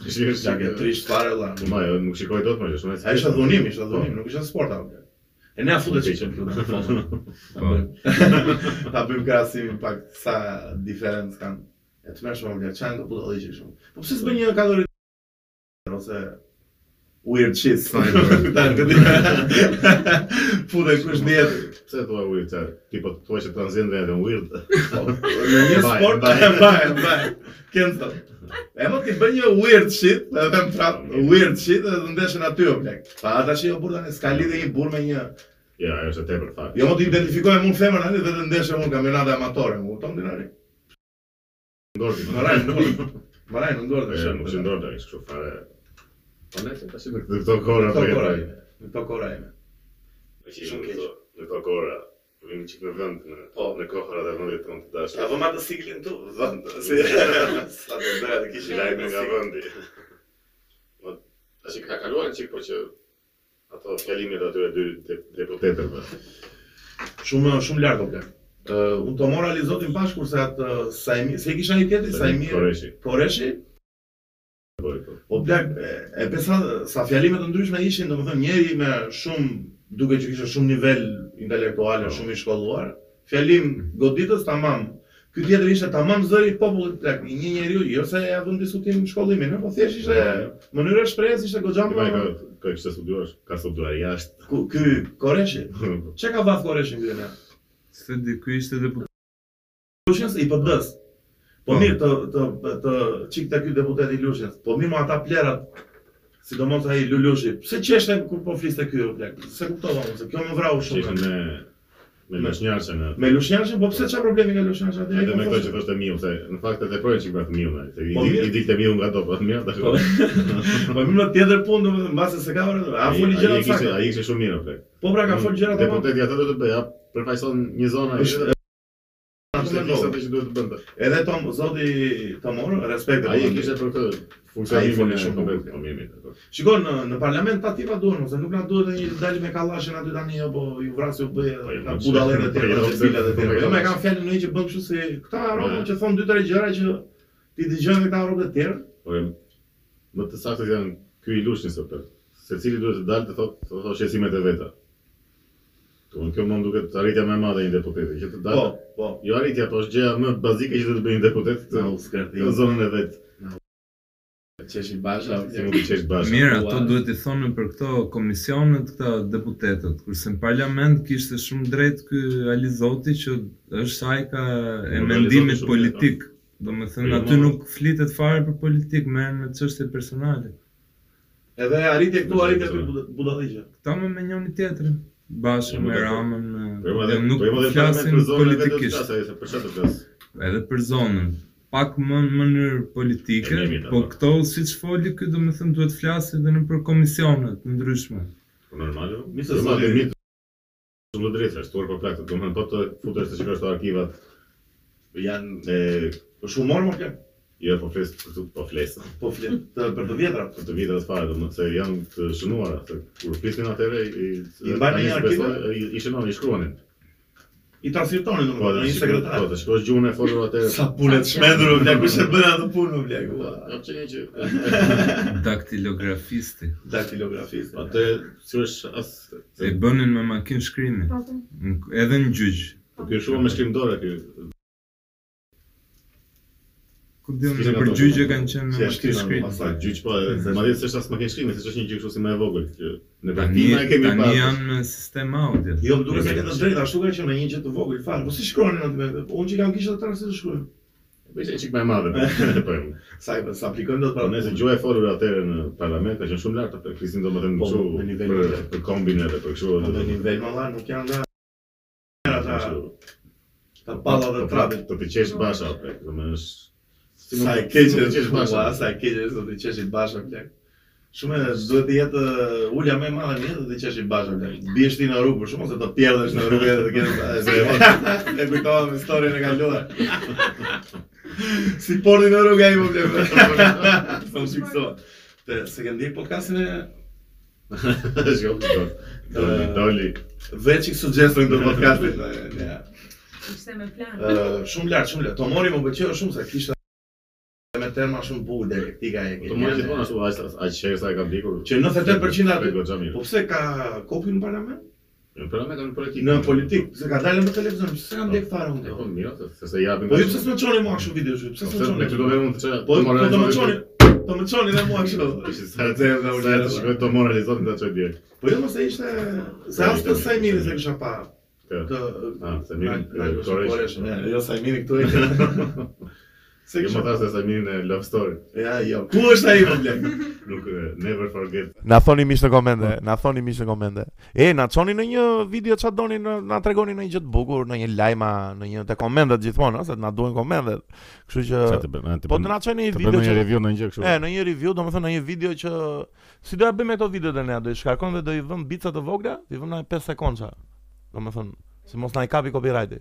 Shihesh
Ja ke trisht fare Po. valla.
Po ma, jo, nuk shikoj dot më, është më.
Ai ishte dhunim, ishte
Po,
dhunim, nuk ishte sport apo. E ne afutë që ishim këtu.
Po.
Ta bëjmë krahasimin pak sa diferencë kanë. E të mërshme më vlerëqen, do putë alliqe shumë. Po pëse s'bë një kalori ose weird shit. Tanë këtë Futë kush diet.
Pse thua weird çfarë? Ti po thua që transgender janë weird.
Në një
Bye,
sport,
bye.
bye, bye, bye. Cancel. E më ti bën një weird shit, edhe më prap weird shit edhe të ndeshen aty o plek. Pa ata që jo burr tani s'ka lidhje një burr me një.
Ja, ajo është e tepër fakt.
Jo më të identifikojmë unë femër tani dhe të ndeshem unë kampionate amatore, më kupton dinari.
ngordi.
Më rajnë në dorë. Më rajnë në dorë të
Ja, nuk
shemë.
qëndron tani kështu fare.
Po ne se tash
Në këto kohra
Në
po
to kora
jetojmë.
ime. Në to kora ime. Shumë
Në
keq.
këto- Në këto kohra vim çik në vend në po në kohra dhe vendi tonë të
Ta
dashur.
vëmë atë siklin tu, vënd. Si, sa të ndërë
Kishim
të kishë
lajme
lajme
nga vendi. Po tash ka kaluar çik po që ato fjalimet aty e dy de- deputetëve.
Shumë, shumë lartë o plek. Uh, unë të mora Alizotin bashkë kurse atë uh, Sajmi, se i kisha një tjetri, Sajmi,
Koreshi.
Koreshi,
Po, po.
Po plak, e- e pesa sa fjalime të ndryshme ishin, domethënë njeri me shumë duke që kishte shumë nivel intelektual,
Po.
shumë i shkolluar, fjalim goditës tamam. Ky tjetër ishte tamam zëri i popullit plak, një njeriu, jo se ja vëm diskutim shkollimin, ëh, po thjesht ishte mënyra e shprehjes ishte goxha
Ti vaj ka
më.
ka kishte studiuar, ka studiuar jashtë.
Ku- Ky Koreshi, çe ka vaf Koreshin ky ne?
se di ky ishte deputet.
Lushins i PD-s. Po
Po.
mirë të të të çik ta ky deputet i Lushins. Po mirë ma ata plerat sidomos ai Lulushi. Pse qeshte kur po fliste ky o plak? Se kuptova unë se kjo më vrau
Që ishte
shumë.
me me lushnjarëse në
Me Lushnjashin, po pse ç'a problemi ka Lushnjashi aty?
Edhe me këto që thoshte miu, se në fakt e veprojnë çik me të miu, se i,
Po,
i,
mirë.
i dikte miu nga do, po mirë, dakor.
Po më në tjetër punë domethënë mbase se ka vërë. A foli gjëra
të
të
saktë.
sakta.
Ai Mm, ishte shumë mirë, plak.
Po pra ka fol gjëra të mëdha.
Deputeti atë do të bëj, ja përfaqëson një zonë ai.
Është-
Ishte disa që duhet të bënte.
Edhe Tom zoti Tomor, respekt.
Ai e kishte për këtë
Ai foli
funksionimin
shumë
shumë komplet,
bukur.
po mirë, mirë, dakor.
Shikon në, në parlament pa tipa duhen, ose nuk na duhet edhe një dalim me kallashin aty tani apo ju vrasi u bëj
Po, jo,
ka
po,
budallën e
po, jo,
tjera,
po,
bilat e
po,
tjera.
jo,
Jo Po, më
po,
kanë fjalën në një që bën kështu se këta
Ja.
robë që thon dy tre gjëra që ti dëgjojnë këta robë të tjerë.
Po e, më të saktë janë ky i lushni sot. Secili duhet të dalë të thotë të thotë shqetësimet e veta. Domthon kjo më duket arritja më e madhe e një deputeti, që të
Po,
dalë
po.
Jo arritja, po është gjëja më bazike që do të bëjë një deputet
Na
të
u skarti.
në zonën e vet.
Qeshi basha.
Si mund të qesh bashkë.
Mirë,
Ua.
ato duhet i thonë për këto komisionet këta deputetët, kurse në parlament kishte shumë drejt ky Alizoti që është ai ka e
Nuk Alizoti
mendimit
shumë
politik. Do me
Po,
thënë
jo,
aty
ma-
nuk flitet fare për politik, merren me çështje personale.
Edhe arritje këtu, arritje këtu budalliqe.
Këta më me njëri tjetrin. Bashën
Jo,
me
po, po.
Ramën,
Po jo,
me-
madje-
dhe nuk
po jo, madje parlament
flasin
për zonën e vet do të
politikisht.
flasë, ai se për çfarë do të flas.
edhe për zonën, pak më në mënyrë politike,
E mirë,
po
apo.
këto si që foli këtë, do me thëmë duhet flasë edhe në për komisionet në ndryshme.
Po normale.
Mirë se
Po,
s'ma
madje
dy.
mirë. Shumë drejtë, është tuar për plakë, do të thonë po të futesh të shikosh të arkivat
Janë
e
po shumë morë më plak.
jo po fles për tu po fles.
Po flet të- për të vjetra.
Për të viteve të fare, do të thotë se janë të shënuara, se kur flisin atëre i
I mbajnë një arkive?
i- i shënon, i shkruanin.
I transkriptonin
Po,
domethënë
të
në një sekretar.
Po, të shkosh gjuhën e folur atëre.
Sa punë të shmendur o plak, kush e bën atë punë o plak. ua.
Po çe që
Daktilografisti,
Daktilografist.
atë si është as
e bënin me makinë shkrimi, Në- edhe në gjyqë.
Po ky është shumë me shkrimdore ky.
Ku di unë
S'kishe
se për
ato,
gjyqe
po.
kanë qenë me
Si e
makinë
shkrinë,
shkrimi. Mm.
po,
Sa gjyq po, madje s'është as makinë shkrimi, s'është një gjyq kështu si më e vogël që në
Tani,
praktikë e kemi
tani
parë.
janë me sistem audio.
Jo, më duket se këtë drejtë, ashtu ka qenë një gjë të vogël, fal, po si shkruanin aty me unë që kam kishë atë se të shkruaj.
Ishte çik më e madhe. Po.
Sa sa aplikojmë do të
Po nëse gjuha e folur atëherë në parlament ka qenë shumë lart atë krisin domethënë
Po,
kështu
me nivel
për
lart.
për kombin edhe për kështu
Po në
edhe.
nivel më valla nuk janë nga ata
Kështu.
ta palla dhe
Po,
trapit.
Të të qesh bashkë atë, domethënë është
Sa e keqe
Të
është
qesh bashkë.
bashkë, sa e keqe është do të qeshit bashkë plak. Shumë e- duhet të jetë e, ulja më e madhe në jetë do të qeshit bashkë plak. Biesh ti në rrugë për shkak se të pjellësh në rrugë edhe të kesh e se e kujtova me historinë e kaluar. Si porti në rrugë ai më plak. Sa u shiksova. Po, Te se ke ndjek podcastin e
Shkjo, do. Doli, doli.
vetë që suggestojnë këtë podcastin. e, ja.
Ishte me plan.
Eh.
Ë, shumë lart, shumë lart. Tomori më pëlqeu shumë se kishte me terma shumë bukur deri etika e
Të mund gjithmonë
geniale.
ashtu aq aq shekë sa e kam dikur.
Që 98% aty-
goxha mirë.
Po pse ka kopi në parlament?
Në parlament kanë politikë.
Në politikë, pse ka dalë në televizion, pse kam dek fare unë.
E po
këto?
mirë, se- se se japin.
Po ju pse s'më çoni mua kështu video kështu? Pse
Po,
s'më
se me çdo
çoni?
vëmë të çfarë.
Po po të më çoni, të më çoni dhe mua kështu.
Ishte sa të
Zero dhe
sa
ulja.
të shkoj të moralizon ta çoj direkt.
Po jo mos e ishte se
Po,
as të Sajmini se kisha pa.
Kë.
Të
Ah, Sajmini,
na- na-
e, Koresh.
Koresh, e, Jo Sajmini këtu e. Se
Jo më
kisha
tha se sa mirë në love story.
Ja, jo. Ku është ai problem?
Nuk e, never forget.
Na thoni mish në komente, na thoni mish në komente. E, na çoni në një video çfarë doni, në- na tregoni në një gjë të bukur, në një lajma, në një te komentet gjithmonë, ëh, se na duhen komentet. Kështu që
bën? a, Të
po të na çoni një
të
video
bëjmë një
që
review në një gjë kështu.
E, në një review, do më thënë në një video që Si do ja bëjmë me këto videot e nea, do i shkarkon dhe do i vëm bica të vogla Do i vëm na 5 sekondqa Do më thënë, si mos na i kapi copyrighti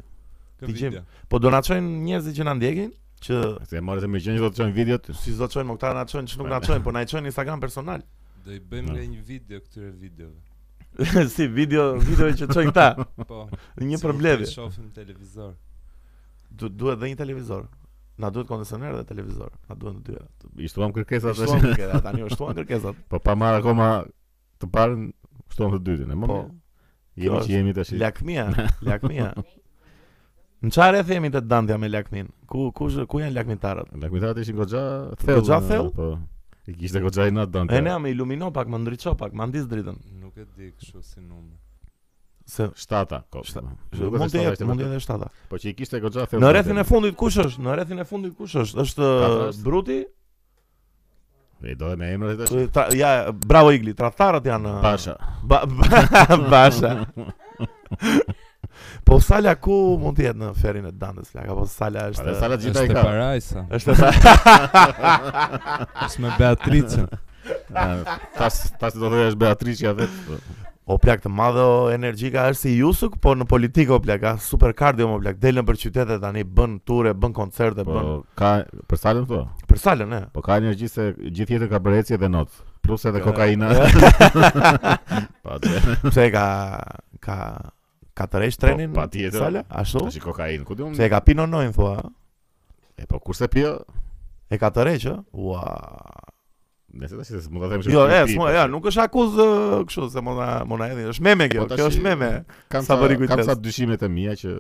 Dëgjim. Po do na çojnë njerëzit që na ndjekin Që
Se e marrë se mirë që do të çojnë videot.
si do të çojnë, më këta na çojnë, që nuk na çojnë Po na i çojnë në Instagram personal
Do i bëjmë nga një video këtyre videove.
Si video, video që çojnë këta
Po.
Një
sikur
përmbledhje
të Shohim televizor.
Du, duhet dhe një televizor. Na duhet kondicioner dhe televizor. Na duhen të dyja.
I shtuam kërkesat
Shtuan
tash.
kërkesat, tani u shtuan kërkesat.
Po pa marr akoma të parën, shtuam të dytën. E më
Po,
mirë. Jemi
kjo
që jemi tash.
lakmia, lakmia. Në çfarë rreth jemi të dandja me lakmin? Ku ku zh- ku janë lakmitarët?
Lakmitarët ishin goxha thellë.
Goxha
në-
thellë?
Po. I kishte goxha i natë dante.
E ne më ilumino pak, më ndriço pak, më ndis dritën.
Nuk e di kështu si numër.
Se
Shtata. ko.
Shta-
Nuk
mund
se shtata ishte
të jetë, mund të
më
jetë shtata.
thellë. Po që i kishte goxha thellë.
Në rrethin e fundit kush është? Në rrethin e fundit kush është? Është
Tatra është.
Bruti?
E do dhe me emrat e tash.
Tra- Ja, bravo Igli, tradhtarët janë
Pasha.
Ba ba- basha. po Sala ku mund të jetë në ferin e Dandës lak, apo Sala është
Edhe sala gjitha i
Është e
ka.
parajsa.
është e-
Është me Beatricën.
A, Tas tas do thoya është Beatricia vetë. po.
o plak të madhe o energjika është si Jusuk, po në politikë o plak, a super kardio o plak, del nëpër qytete tani bën ture, bën koncerte, bën
Po ka për salën thua.
për Salën, e.
Po ka energji se gjithë jetën ka bërë ecje dhe not. Plus edhe kokaina. Pa të.
Pse e ka ka ka tërheq trenin?
Po, patjetër.
Sala, ashtu?
Tash i kokainë, ku do
Pse e ka Pino Noin thua? a?
E po kurse pio,
E ka tërheq, ë? Ua.
nëse tash se mund ta them shumë.
Jo, e,
pi,
s'mo,
po,
ja, nuk është akuzë kështu se mund ta mund ta hedhin. Është meme kjo,
Po, tash
kjo
i-
është meme.
kam
Sa
sa
bëri kujtes.
Kam sa dyshimet e mia që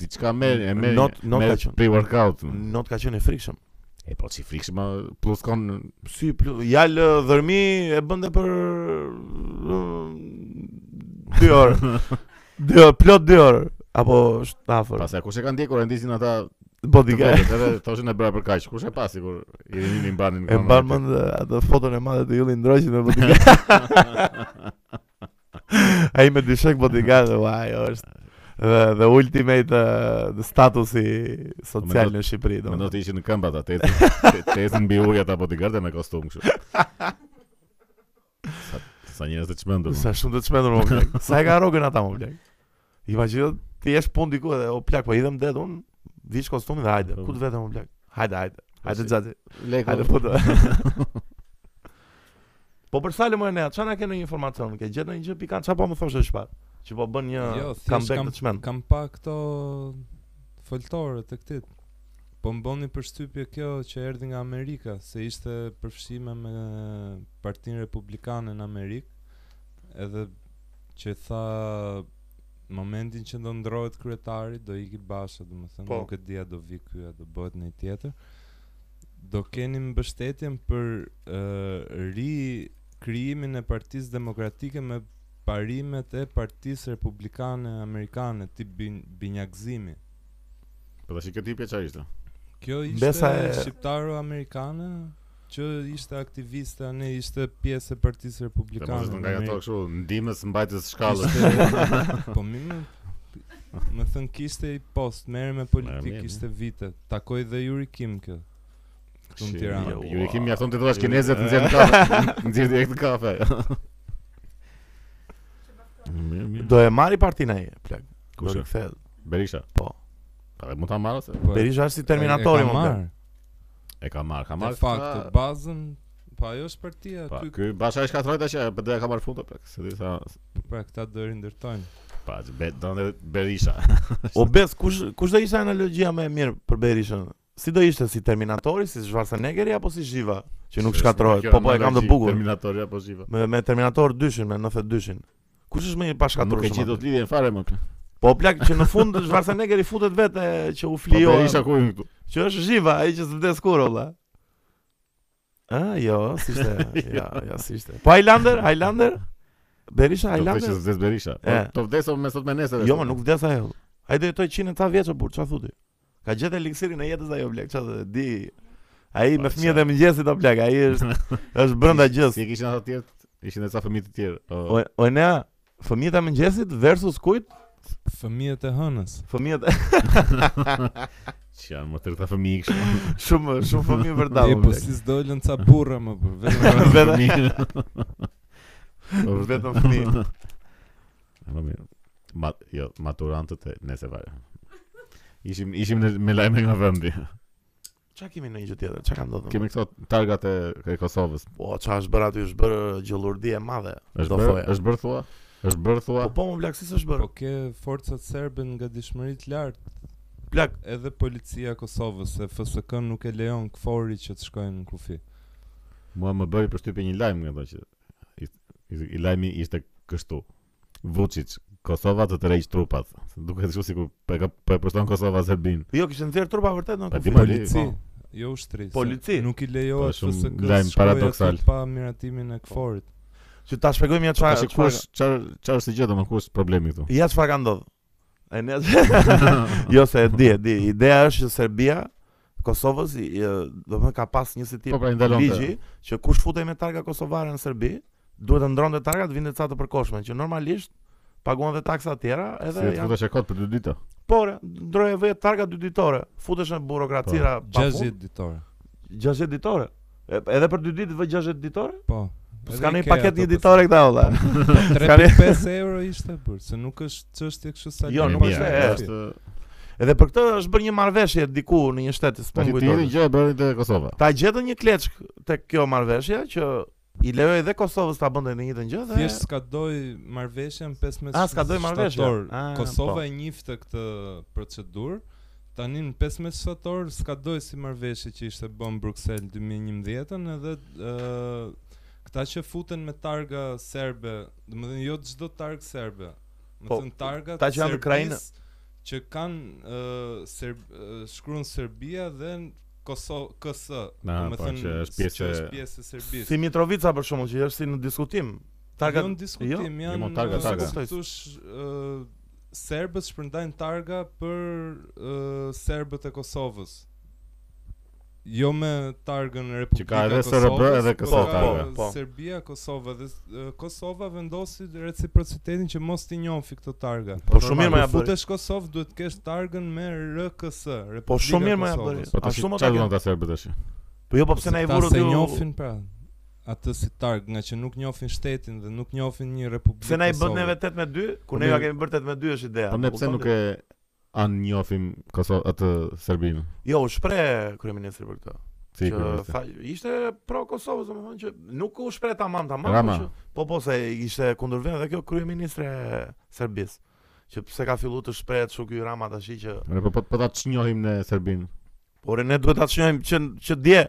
diçka merr e merr.
Not- not
merr
ka qenë.
pre workout.
Not ka qenë i frikshëm.
E po si frikshëm a, plus kon
Si plu- jal dhërmi e bënte për 2 orë. 2 orë, plot 2 orë apo është afër.
pastaj kush e ka ndjekur e ndisin ata të
Bodyguard.
vogël, edhe thoshin e bëra për kaq. Kush e pa sikur i rinin banin.
E
kanë
mban
atë.
mend atë foton e madhe të Ylli Ndroqit me bodyguard. Ai me dy shek bodyguard, ua, ajo është dhe, dhe ultimate uh, statusi social
Mendot-
në Shqipëri,
Mendo
domethënë.
të ishin në këmbë ata, te te- te ecën mbi ujë ata bodyguardë me kostum kështu. Sa, sa njerëz të çmendur.
Sa shumë të çmendur më plak. Sa e ka rrogën ata më plak. Imagjino jo, ti jesh pun diku edhe o plak po idhem det un, vish kostumin dhe hajde. Ku të vetëm më plak. Hajde, hajde. Hajde xhaxhi. Hajde po. të- Po për sa më ne, çana ke në informacion, ke gjetë ndonjë gjë pikant, çfarë po më thoshë shpat? Që po bën një
Jo, thjesht
comeback
kam
të çmend.
kam pa këto foltore të këtit. Po më bëni përshtypje kjo që erdhi nga Amerika, se ishte përfshime me Partinë Republikane në Amerikë, edhe që tha momentin që do ndrohet kryetari, do iki Basha, domethënë,
Po.
nuk e dia do vi ky, a do bëhet një tjetër. Do keni mbështetjen për uh, ri krijimin e Partisë Demokratike me parimet e Partisë Republikane Amerikane, tip bin, binjakëzimi.
Po tash kjo tipja çfarë ishte?
Kjo ishte
Besa e-
shqiptaro-amerikane që ishte aktiviste, ne ishte pjesë e Partisë
Dhe mos
Republikane.
është
në
nga ato
Amerikë.
kështu ndihmës mbajtës së shkallës.
Kishte- po mi më më thën kishte i post, merre me
mirë,
politikë,
mirë.
kishte vite. Takoi dhe Yuri Kim kë. Këtu në
Shi,
Tiranë.
jo, Ju kim mjafton të thuash kinezët nxjerrin kafe. Nxjerr direkt në kafe. Mirë, mirë.
Do e marri partinë ai, plak. Do
Kush?
rikthehet.
Berisha.
Po.
Pa dhe mund ta marrë se
Po,
Berisha është si
e- e
Terminatori
ka
më plak.
marrë.
e ka marrë, ka
Në
marrë.
fakt,
ka-
bazën, po ajo është partia
Pa,
aty,
ky bashkë ai shkatrojta që PD e po ka marrë fund apo se di sa
pra këta do i ndërtojnë.
pa që be donë Berisha.
O bes, Po, kush kush do ishte analogjia më e mirë për Berishën? Si do ishte si Terminatori, si Schwarzeneggeri apo si Zhiva, që nuk shkatrohet.
Kjo
Po po e kam të
analogji,
bukur.
Terminatori apo Shiva.
Me, me Terminator 2-shin, me 92-shin. Kush është
Nuk e
më i
gjej dot
pashkatrueshëm?
lidhjen fare më.
Po plak që në fund Schwarzeneggeri futet vetë që u
Po
flio.
Berisha ku hyn këtu?
Që është Zhiva, ai që s'vdes kur olla. Ah, jo, si ishte. ja, ja, si ishte. Po Highlander, Highlander.
Do
Berisha
të
Highlander.
vdes vdes Berisha. Po,
E.
To vdeso me sot me nesër.
Jo, më nuk vdes ajo. Ai do jetoj 100 e ca vjeç burr, çfarë thotë? Ka gjetë eliksirin e jetës ajo blek, çfarë dhe di. Ai
Pa,
me fëmijët
qa.
e mëngjesit apo blek, ai është është brenda gjës.
Si po. e kishin ata të tjerë? Ishin edhe ca fëmijë të tjerë.
O,
O,
o ne fëmijët e mëngjesit versus kujt?
Fëmijët e hënës.
Fëmijët
që janë më tërë ta fëmijë kështu.
shumë shumë fëmijë për
E
dallim
po
blek.
si s'dolën ca burra më për vetëm pra.
Vetëm
Po, vërtet.
vetëm fëmijë.
Po mirë. Ma, jo, maturantët e nese fare. Ishim ishim në, me lajme nga vendi.
Çfarë kemi në një gjë tjetër? Çfarë ka ndodhur?
Kemi këto targat e, e Kosovës.
Po, çfarë është bërë aty? Është bërë gjëllurdi e madhe.
Është
Do
bërë,
thoja.
është bërë thua? Është bërë thua?
Po po më blak si s'është
Po
bërë.
ke forcat serbe nga dishmëri të lartë,
Blak,
edhe policia e Kosovës, se FSK nuk e lejon këfori që të shkojnë në kufi.
Mua më bëri përshtypje një lajm nga ato që i, i, i lajmi ishte kështu. Vučić, Kosova të tërheq trupat. Duket kështu sikur po e ka po e përshton Kosova Serbinë.
jo kishte nxjerr trupa vërtet në
Pa,
kufi.
di ma di.
Polici, jo ushtri. se
Polici?
Nuk i
Po,
lejohet
shumë
FSK
lajm
-s shkojë
paradoksal.
aty pa miratimin e këforit.
Që ta shpjegoj më
Tash
çfarë çfarë
kush çfarë çfarë është gjë domun kush problemi këtu?
Ja çfarë ka ndodhur? E ne jo se e di, e di. Ideja është që Serbia Kosovës, i- i- do të thënë ka pas një si tip
Po pra i ndalon.
ligji që kush futej me targa kosovare në Serbi, duhet të ndronte targa të vinte ca të përkohshme, që normalisht paguan dhe taksa të tjera,
Si
edhe
të
janë
futesh e kot për dy ditë.
por ndroje vetë targa dy ditore, futesh në
Po,
burokratira pa
60
fund,
ditore.
60 ditore. E- Edhe për dy ditë vë 60 ditore?
Po.
Po
Edhe
s'ka një
Ikea
paket
ato po,
një
pas-
ditore këta olla.
3.5 euro ishte bërë, se nuk është çështje kështu sa.
Jo, nuk është e-
është.
Edhe për këtë është bërë një marrëveshje diku në një shtet, s'po
Tash
më
ti
kujtoj.
një gjë e bëri te Kosova.
Ta gjetën një kleçk tek kjo marrëveshje që i lejoj edhe Kosovës ta bënte në njëjtën gjë dhe
Thjesht s'ka doj marrveshjen 15
A, s'ka doj marrveshje?
shtator.
A,
Kosova
po.
e njifte këtë procedurë. Tani në 15 shtator s'ka doj si marrveshje që ishte bën Bruksel 2011-ën edhe ë këta që futen me targa serbe, domethënë jo çdo targ serbe.
Po,
Domethënë targa
ta që janë në Ukrainë.
që kanë ë serb, ë, shkruan Serbia dhe në Kosovë KS.
Na, po,
domethënë
që është pjesë
që
e-
është pjesë e Serbisë.
si Mitrovica për shembull që është si në diskutim. Targa
Jo në
Jo?
diskutim,
Jo,
janë
mo, targa,
ë,
targa.
si Thush ë, serbët shpërndajnë targa për ë, serbët e Kosovës. Jo me targën e
Që ka
Republika
edhe
e
SRB
Kosovës,
edhe
po
KS
targa.
ka
Po, po.
Serbia, Kosova dhe ë, Kosova vendosi reciprocitetin që mos t'i njofi këto targa.
Po shumë mirë më
Kur
ja bëri.
futesh Kosovë duhet të kesh targën me RKS, Republika
Po shumë mirë më ja
Kosovës.
bëri.
Po tash
Ashtu më ta
çfarë
kenë.
duan ta serbët tash?
Po jo po pse na i
ta
vurë
se
ju.
njohin pra atë si targ, nga që nuk njohin shtetin dhe nuk njohin një republikë.
Pse na i bën
Kosovë.
neve 8 me 2,
Po
ku ne ja
mirë.
kemi bërë 8 me 2 është ideja.
Po ne pse
kupton
nuk
ti?
e an njofim Kosovë atë Serbinë?
Jo, u shpreh kryeministri për këtë.
Si
që
kujdes.
tha, ishte pro Kosovës, domethënë që nuk u shpreh tamam tamam,
Rama.
por që- po po se ishte kundër vend dhe kjo kryeministre e Serbisë, që pse ka filluar të shprehet kështu ky Rama tash që
Ne po po ta çnjohim në Serbinë.
Por ne duhet ta shënjojmë që që dje.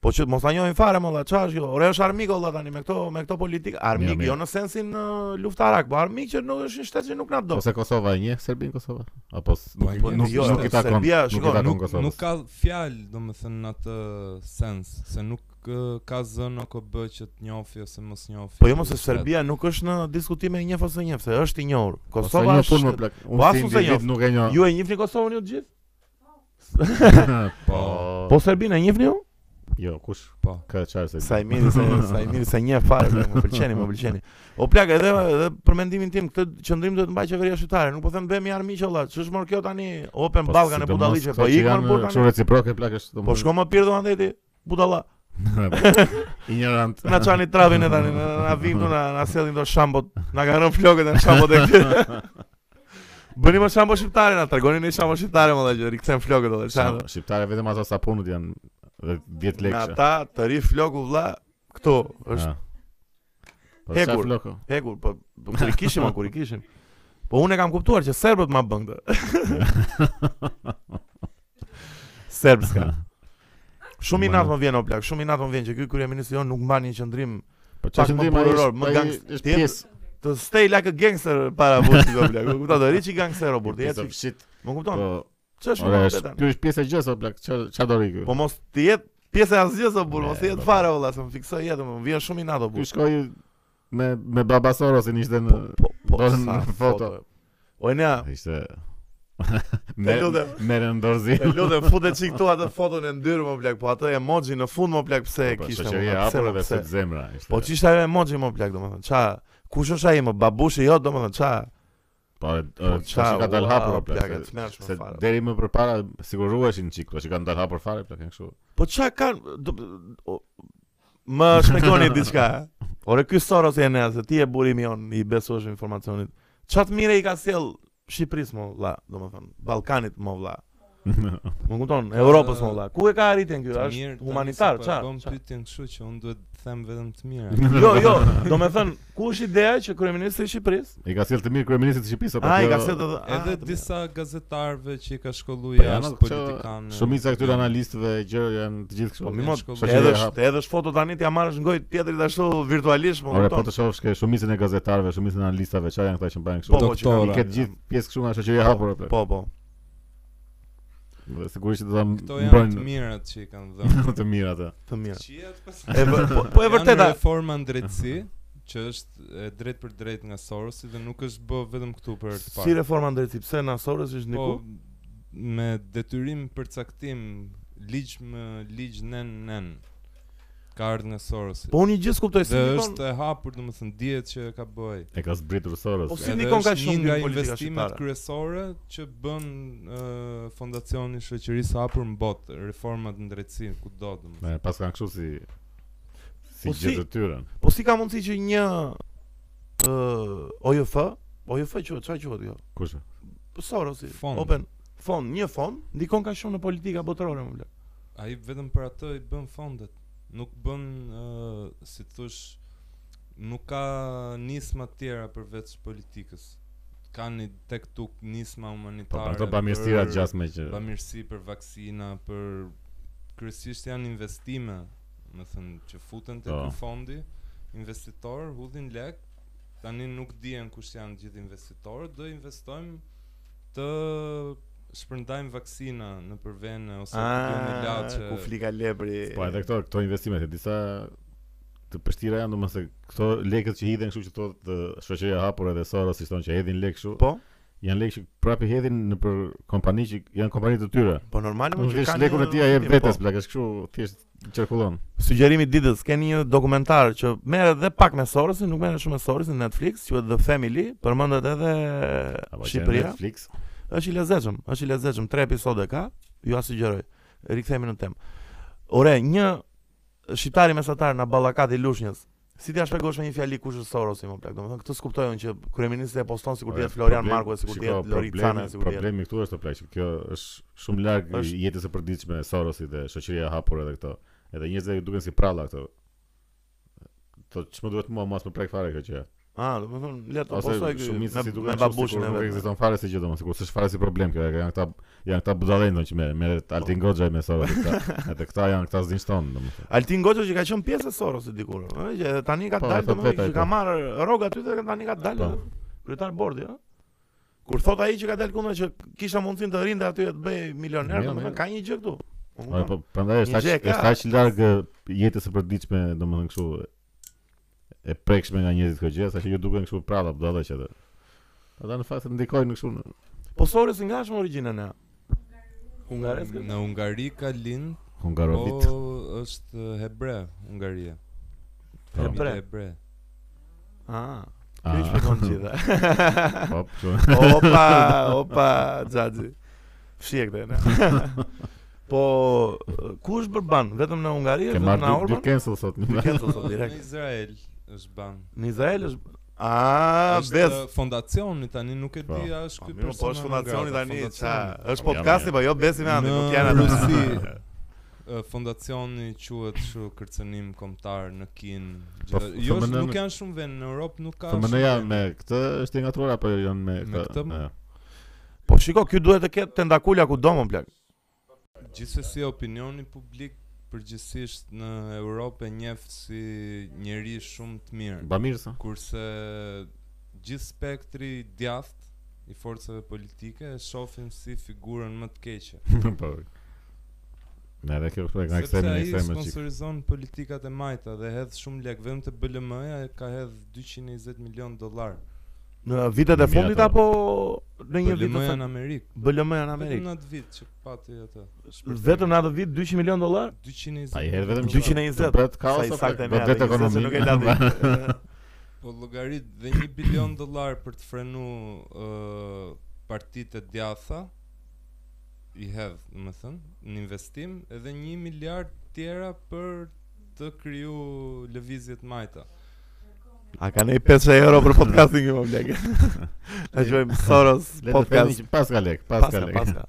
Po që mos ta njohim fare molla, çfarë është kjo? Ore është armik olla tani me këto me këto politikë, armik
mirë.
jo në sensin uh, luftarak, po armik që nuk është një shtet që nuk na do.
Ose Kosova e njeh Serbinë Kosova? Apo s-
Po,
nuk
po,
nuk
jo,
nuk i takon.
Serbia,
Nuk
shiko,
i takon
nuk,
Kosovës.
nuk ka fjalë, domethënë në atë sens, se nuk ë, ka zënë OKB që të njofi ose mos njofi.
Po jo mos se
këtë
Serbia nuk është në diskutime e njëf ose njëf, se është i njohur.
Kosova
Kosova
është
është
më plak. Unë
Po,
si
asun se
individ
njoh.
nuk e njoh.
Ju e njihni Kosovën ju të gjithë?
Po,
Po Serbinë e njihni ju?
Jo, kush?
po.
Ka çfarë se?
Sa i mirë se sa i mirë se një fare, bla, më pëlqeni, më pëlqeni. O plak edhe edhe për mendimin tim këtë qendrim duhet të mbajë qeveria shqiptare, nuk po them bëhemi armiq olla, ç'është mor kjo tani Open Ballkan Po, e budalliqe, po ikën po
Shumë
tani.
reciproke plakësh domos.
Po shko më pirdo andeti, budalla.
Po, Ignorant.
Na çani travin e tani, na na vin këtu, na na sellin do shambot, na kanë rënë flokët në shambot e këtyre. Bëni më shambo shqiptare, na tregoni një shambo shqiptare më që rikthejm flokët edhe çfarë.
Shqip- Shqiptare vetëm ato sapunët janë dhe 10
Na
lekë.
ta të ri floku vlla, këtu është
Ah. Po
hekur.
çfarë floku?
Hekur, po po, kur i kishim, o, kur i kishim. Po unë e kam kuptuar që serbët ma bën këtë. Serbska. Shumë i natë më vjen o plak, shumë i natë më vjen që ky kryeministri jon nuk mban një qendrim
Po
Pak
çfarë
më
ndihmë ai?
burror,
është-
më
ai
gangst-
është
tjetër-
pjesë.
të stay like a gangster para vushit o plak. Kupton do riçi gangster o burti,
Piece of
eci.
shit.
Më kupton?
Po,
Ç'është
ora,
më
është-
tani?
ky është pjesë e gjës o plak. Çfarë çfarë do ri ky?
Po mos të jetë pjesë e asgjës o burr,
Ne,
mos të jetë
po.
fare valla, se më fiksoj jetën, më vjen shumë i natë o
Ky
burr.
shkoi me me baba Sorosin ishte në
Po, po,
Do
sa
në foto.
foto. O e nea,
ishte
lutem.
Merë në dorëzi
E lutem futet çik këtu atë foton e ndyrë më plak, po atë emoji në fund më plak pse e
Po,
kishte.
shoqëria
më, pse,
hapur
më,
edhe
pse?
sot zemra ishte.
Po çishte ajo emoji më plak domethënë. Ça kush është ai më babushi jo domethënë ça.
Po, e-
Po,
e,
qa,
që ka dalë
ua,
hapur o
plak, e
plak. se-
t'merrshme
Se
fare.
deri më përpara siguruheshin çik, po që kanë dalë hapur fare plak janë kështu.
Po ça kanë do, o, më shpjegoni diçka. eh? Ore ky Soros e ne se ti e burimi jon i besosh informacionit. Ça të mire i ka sjell Shqipërisë më vlla, domethënë Ballkanit më vlla. Më kupton, Europës më vlla. Ku e ka arritën ky?
Të mirë,
Është
tani
humanitar,
se po e
ça?
Bëm
ça?
pyetjen kështu që unë duhet të them vetëm të mirë.
Jo, jo, do me thënë, ku është ideja që kryeministri i Shqipëris?
I ka sjell të mirë kryeministit të Shqipërisë apo?
A, i
Po, kjo-
ka se të... a,
Edhe
Ah, të-
disa gazetarëve që i ka
Po
shkollu
janë
jashtë
ato që-
politikanë.
Shumica e këtyre analistëve e gjëra janë të gjithë kështu.
Po mi mod,
shkollë.
edhe
Shoqëria
është edhe është foto tani t'ja marrësh ngoj tjetrit ashtu virtualisht, më
Ore, po të
kupton.
shohësh ke shumicën e gazetarëve, shumicën e analistave, çfarë janë këta që bëjnë kështu?
Po, po, që kam-
I
doktora.
ketë gjithë pjesë kështu nga shoqëria e hapur apo.
Po, po.
Dhe Sigurisht që do ta
Këto janë të
mbrojnë
mirat që i kanë dhënë.
të mirë atë.
Të mirë.
Qihet pas.
E vë- po- po e vërteta,
Janë reforma në drejtësi që është e drejt për drejt nga Sorosi dhe nuk është bë vetëm këtu për të
si
parë.
reforma ndërci, pse në Asorës ishtë
Po
niku?
me detyrim për caktim ligj më ligj nen nen ka ardhur nga Sorosi.
Po unë i gjithë kuptoj, si
Dhe
nikon,
është e hapur, domethënë dihet që e ka bëj.
E ka zbritur Soros.
Po, si
Edhe
Nikon ka
është
shumë
një nga
mbi politika
investimet
shqiptare.
kryesore që bën uh, fondacioni i shoqërisë hapur në botë, reformat në drejtësi kudo domethënë.
E, pas kanë kështu si si
Po, si-
gjithë të tyren.
po si ka mundësi që një ë, OJF, OJF që, qa që jo?
Kush?
Po Sorosi,
Fond.
open, fond, një fond, ndikon ka shumë në politika botërore, më blek.
Ai vetëm për atë i bën fondet. Nuk bën uh, si të thosh nuk ka nisma të tjera përveç politikës. Kanë i- tek tuk
Po,
nisma humanitare.
ato bamirësira
për-
gjasme që
bamirësi për vaksina, për kryesisht janë investime, më thënë që futen te
Po.
ky fondi, investitor hudhin lek, tani nuk dihen kush janë gjithë investitorët, do investojmë të shpërndajmë vaksina në përvene ose të bëjmë ilaçe.
Ah, ku flika lepri.
Po edhe këto këto investimet e disa të pështira janë domethënë se këto lekët që hidhen kështu që thotë të shoqëria e hapur edhe Soros si thonë që hedhin lekë kështu,
Po,
janë lekë që prapë hedhin në për kompani që janë kompani të tyre.
po normali
Nuk
më që
vesh
kanë...
lekun e
një-
ti e
po.
vetes plak, është kështu thjesht qarkullon.
Sugjerimi i ditës, keni një dokumentar që merret edhe pak me Sorosin, nuk merret shumë me Sorosin në Netflix, quhet The Family, përmendet edhe
Apo që në
Shqipëria.
Netflix.
Është i lezetshëm, është i lezetshëm, tre episode ka, ju a sugjeroj. Rikthehemi në temë. Ore, një shqiptari mesatar në Ballakat i Lushnjës. Si t'ja shpjegosh me një fjali kush është Sorosi më plak? Domethënë këtë s'kuptojnë që kryeministri e poston sikur
Eh,
të jetë Florian Marku, sikur të jetë Lori Cana, sikur të jetë.
Problemi këtu është o plak, që kjo është shumë larg
Është-
jetës së përditshme e Sorosit dhe shoqëria e hapur edhe këto. Edhe njerëzit ju duken si pralla këto. Po ç'më duhet mua mos më prek fare kjo gjë.
Ah, domethënë le të
Ose
postoj ky me,
shumica si duken
me
kështu sikur
babushin e
Nuk
vet.
ekziston fare si gjë domos, sikur s'është fare si problem kjo. Janë këta janë këta budallënë që merren, merret Altin Goxha me Sorosit. këta. Edhe këta janë këta zinshton domethënë.
Altin Goxha që ka qenë pjesë e Sorosit dikur, ëh, që edhe tani ka
Po, e
dalë
thot
domethënë
vetë ai
që ka
po.
marrë rrog aty dhe tani ka dalë
Po.
edhe kryetar bordi, ëh. Kur thot ai që ka dalë kundër që kishte mundësinë të rinde aty e të bëj milioner,
Mirë, mirë.
domethënë ka një gjë këtu. Unë
Ora,
kuptoj.
Po prandaj
Një
është aq
gjë e ka.
është aq larg e, jetës së përditshme, domethënë kështu e- e prekshme nga njerëzit kjo gjë, sa që ju duken kështu prapa budalla që atë. Ata në fakt ndikojnë kështu. në-
Po Sorosi nga është më origjina ne? Hungareske?
Në Hungari ka lind,
Hungarovit.
po është hebre Hungaria.
Po.
Familje
Hebre.
hebre.
Ah,
Ah.
kjo i shpjegon gjitha.
Po, kështu.
Opa, opa, Xhaxhi. Fshije këtë. ne. po ku është bërban? Vetëm në Hungari
Ke
është vetëm
marrë
në
dy- dy
Orban?
cancel sot.
Dy cancel sot
Në
Po, direkt.
Izrael është ban.
Në Izrael është Ah,
Është
bes.
ë, fondacioni tani nuk e
Po.
di a është
Po,
ky
mirë,
person.
po është fondacioni tani, ça? Është
Po, jam,
podcasti,
jam.
po jo besi me andi, nuk janë
Në
atë.
Rusi ë, fondacioni quhet kështu kërcënim kombëtar në Kin.
Po,
Gjitha- Jo,
FMN
nuk
nuk-
janë shumë vend në Europë, nuk ka.
Po më
shumë
ja
vend.
me këtë është e ngatruar apo jo, janë me
Me këtë, mo?
e.
Po shiko, ky duhet të ketë tentakula kudo më plak.
Gjithsesi opinioni publik përgjithsisht në Europë e njeh si njeri shumë të mirë,
Ba mirë sa.
kurse gjithë spektri djathtë i forcave politike e shohin si figurën më të keqe.
Po. Ne edhe kjo është pra nga
Sepse
ekstremi në
ai
ekstremi çik.
sponsorizon politikat e majta dhe hedh shumë lek vetëm te BLM-ja e ka hedh 220 milion dollar.
Në vitet
Mira,
e fundit
po.
ta.
apo në një vit të
BLM-ja në
saktë?
Amerikë.
BLM-ja në
Vetëm
Amerikë.
në atë vit që pati atë.
Vetëm në atë vit 200 milion dollar?
220.
Pa i herë vetëm
dollar.
220.
Bret
Sa
kaos
i
apo
saktë e
do
mja,
vetë
dhe gjithsesi
ekonomi.
Nuk e la ditë.
Po llogarit dhe 1 bilion dollar për të frenu uh, partitë e djatha i hedh, do të thënë, në investim edhe 1 miliard tjera për të kriju lëvizjet majta.
A ka ne 500 euro për podcasting më blek. Na quajmë Soros
Le të themi
podcast.
që pas ka lek, pas ka
Paska,
lek.
paska.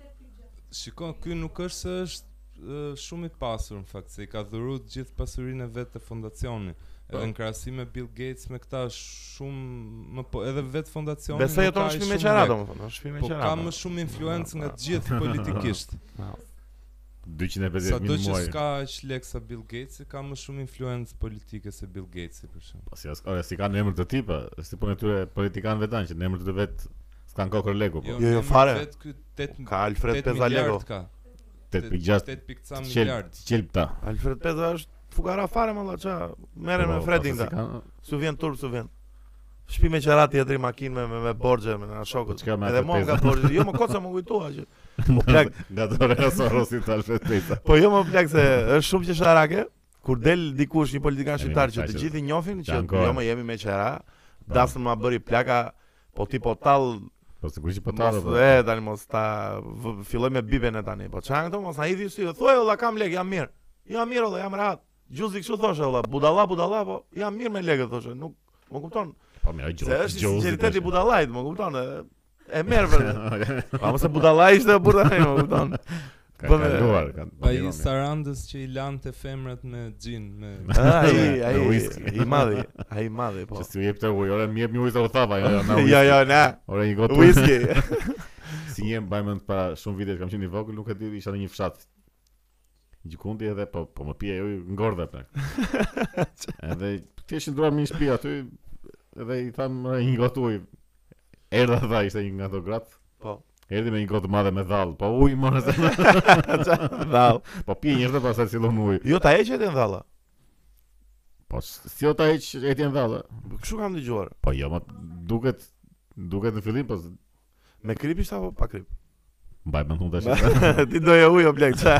Shikon, ky nuk është se është ë, shumë i pasur në fakt, se i ka dhuruar të gjithë pasurinë e vet të fondacionit.
Po.
Edhe në krahasim me Bill Gates me këta shumë më po edhe vetë fondacioni.
Besoj
nuk
jeton në
ka ai
shtëpi me
shumë
qara
lek.
domethënë, në shtëpi me
Po
qara.
ka më shumë influencë nga të gjithë politikisht.
250
Sa do
mijë
që
muaj.
s'ka aq lek sa Bill Gates, ka më shumë influencë politike se Bill Gates për shemb.
Po si as, ore, si kanë emër të tipa, si punë tyre politikanëve tan që në emër të vet s'kan kokër leku, po.
Jo, jo,
në
fare.
Vetë ky 8
Ka Alfred
8
Pezalego.
miliard ka.
8.6
8.6
çel
miliard.
çelpta.
Alfred Peza është fukara fare më valla ça. Merren
Po,
me Fredin ta. Su vjen turp, su vjen. Shtëpi me qara tjetri makinë me me, me borxhe me na shokut.
Po, Çka me
Edhe
Alfred
mua më ka
Peza?
borxhe. Jo më koca më kujtoa që.
Po
plak.
Nga dorë Sorosit Alfred Peza.
Po jo më plak se është shumë qesharake. Kur del dikush një politikan shqiptar që të gjithë i njohin që
Janë kohë.
jo më jemi me qera, dasën ma bëri plaka, po ti po tall
Po sigurisht po ta.
Mos e tani mos ta v- filloj me biben e tani. Po çan këto mos na hidhi sy. Thuaj olla kam lek, jam mirë. Jam mirë olla, jam rahat. Gjuzi kështu thoshe olla, budalla budalla, po jam mirë me lekët thoshe. Nuk më kupton.
Po mirë,
Se
gjozi.
është i sinqeriteti budallait, më kupton. e- E merr vetë.
budallë.
Pa mos e budalla ishte burda tani, më kupton.
Ka
Bëme-
kaluar, ka.
Pa i Sarandës që i lante femrat me gjin, me
Ai
Me
ai
whisky.
i madhi, ai i madhi po.
Që si u jep të ujë, ore më jep një ujë të rrëthava, jo, jo, na
Jo,
ujë.
jo, na.
Ore një gotë ujë,
Whisky.
si një mbajmën para shumë vite që kam qenë i vogël, nuk e di, isha në një fshat. Gjikundi edhe po po më pije ujë ngordha plak. Edhe thjesht ndruam në një shtëpi aty, edhe i tham ore një gotë ujë. Erdha tha ishte një nga ato gratë.
Po.
Erdhi me një gotë madhe me dhall, po ujë morë se.
Dall.
Po pije njerëz dhe pastaj sillon ujë.
Jo ta heqet e ndalla.
Po s- si ota hiç etjen dhallë.
Kështu kam dëgjuar.
Po jo, ma duket duket në fillim, po s-
Me krip ishte apo pa krip?
mbajmën unë tash.
Ti doje ujo blek ça.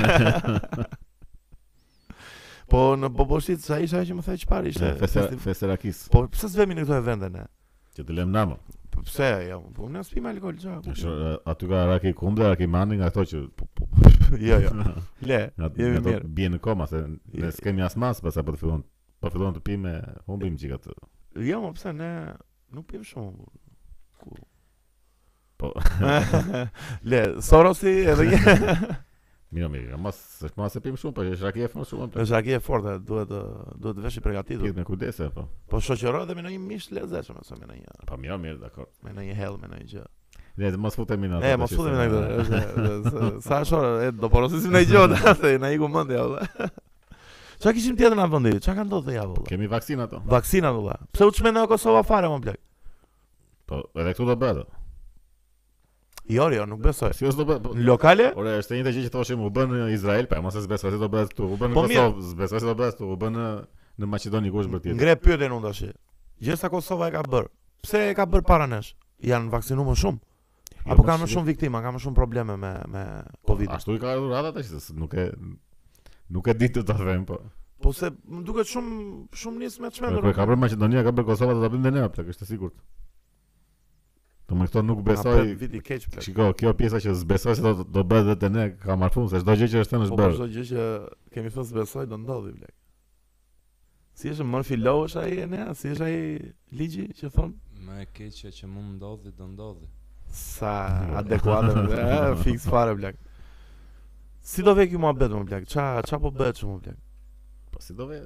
po në Boboshit sa isha që më thaj çfarë ishte.
Fesera-
Festi-
Feserakis.
Po pse s'vemi në këto evente ne?
Që të lëmë namë.
Po pse jo? Po unë s'pi alkool ça. ku-
Shë, aty ka raki kumbla, raki mani nga ato që po, po,
Jo jo. Le,
nga,
jemi
nga ato
mirë.
bie në koma se ne
Je-
s'kemi as mas pas apo të fillon po fillon të pimë, humbim çik atë.
Jo, mo pse ne nuk pim shumë. Ku?
Po.
Le, Sorosi edhe një.
Mirë, mirë, mas është mas e pim shumë, po është raki e fond shumë. Po.
Është aki e fortë, duhet ë, duhet të vesh i përgatitur.
Pjet me kujdese po.
Po shoqëro edhe me ndonjë mish lezetshëm ose me ndonjë
Po mirë, mirë, dakor.
me ndonjë hell, me ndonjë gjë.
Ne të mos futemi në atë.
E,
tash,
mos
se-
futemi në këtë. është- është- Sa është ora, e do porosim në gjona, se na iku mendja valla. Çka kishim tjetër në vendi? Çka ka ndodhur ja valla?
Kemi vaksinë ato.
Vaksina valla. Pse u çmend në Kosova fare më blek?
Po, edhe këtu do bëhet.
Jo, jo, nuk besoj.
Si është do bëhet? po-
Në lokale?
Ore, është e njëjta gjë që thoshim u bën në Izrael, po mos e zbesoj se do bëhet këtu. U bën në
Po mirë.
Kosovë, zbesoj se do bëhet këtu. U bën në në Maqedoni ku është bërë tjetër.
Ngre pyetjen unë tash. Gjësa Kosova e ka bër. Pse e ka bër para nesh? Janë vaksinuar më shumë.
Jo,
Apo kanë më shumë viktima, kanë më shumë probleme me me Covid.
Ashtu i ka ardhur rada tash se nuk e nuk e di të ta them po.
Po se më duket shumë shumë nis me
Po,
çmendur.
Kur ka për Maqedonia, ka për Kosova do ta bëjmë dhe ne apo është e sigurt. Do më këto nuk besoj.
viti keq plak.
Shiko, kjo pjesa që s'besoj se do do bëhet dhe te ne ka marrë fund, se çdo gjë që është thënë
Po
është
po
bërë.
çdo gjë që kemi thënë se besoj do ndodhi blek. Si është Murphy Law është ai e ne, si është ai ligji që thon
Më e keqja që mu më ndodhi do ndodhi.
sa adekuate dhe e, fix fare blek. Si do vë ky muhabet më blek? Ça ça po bëhet shumë blek?
Po si do ve?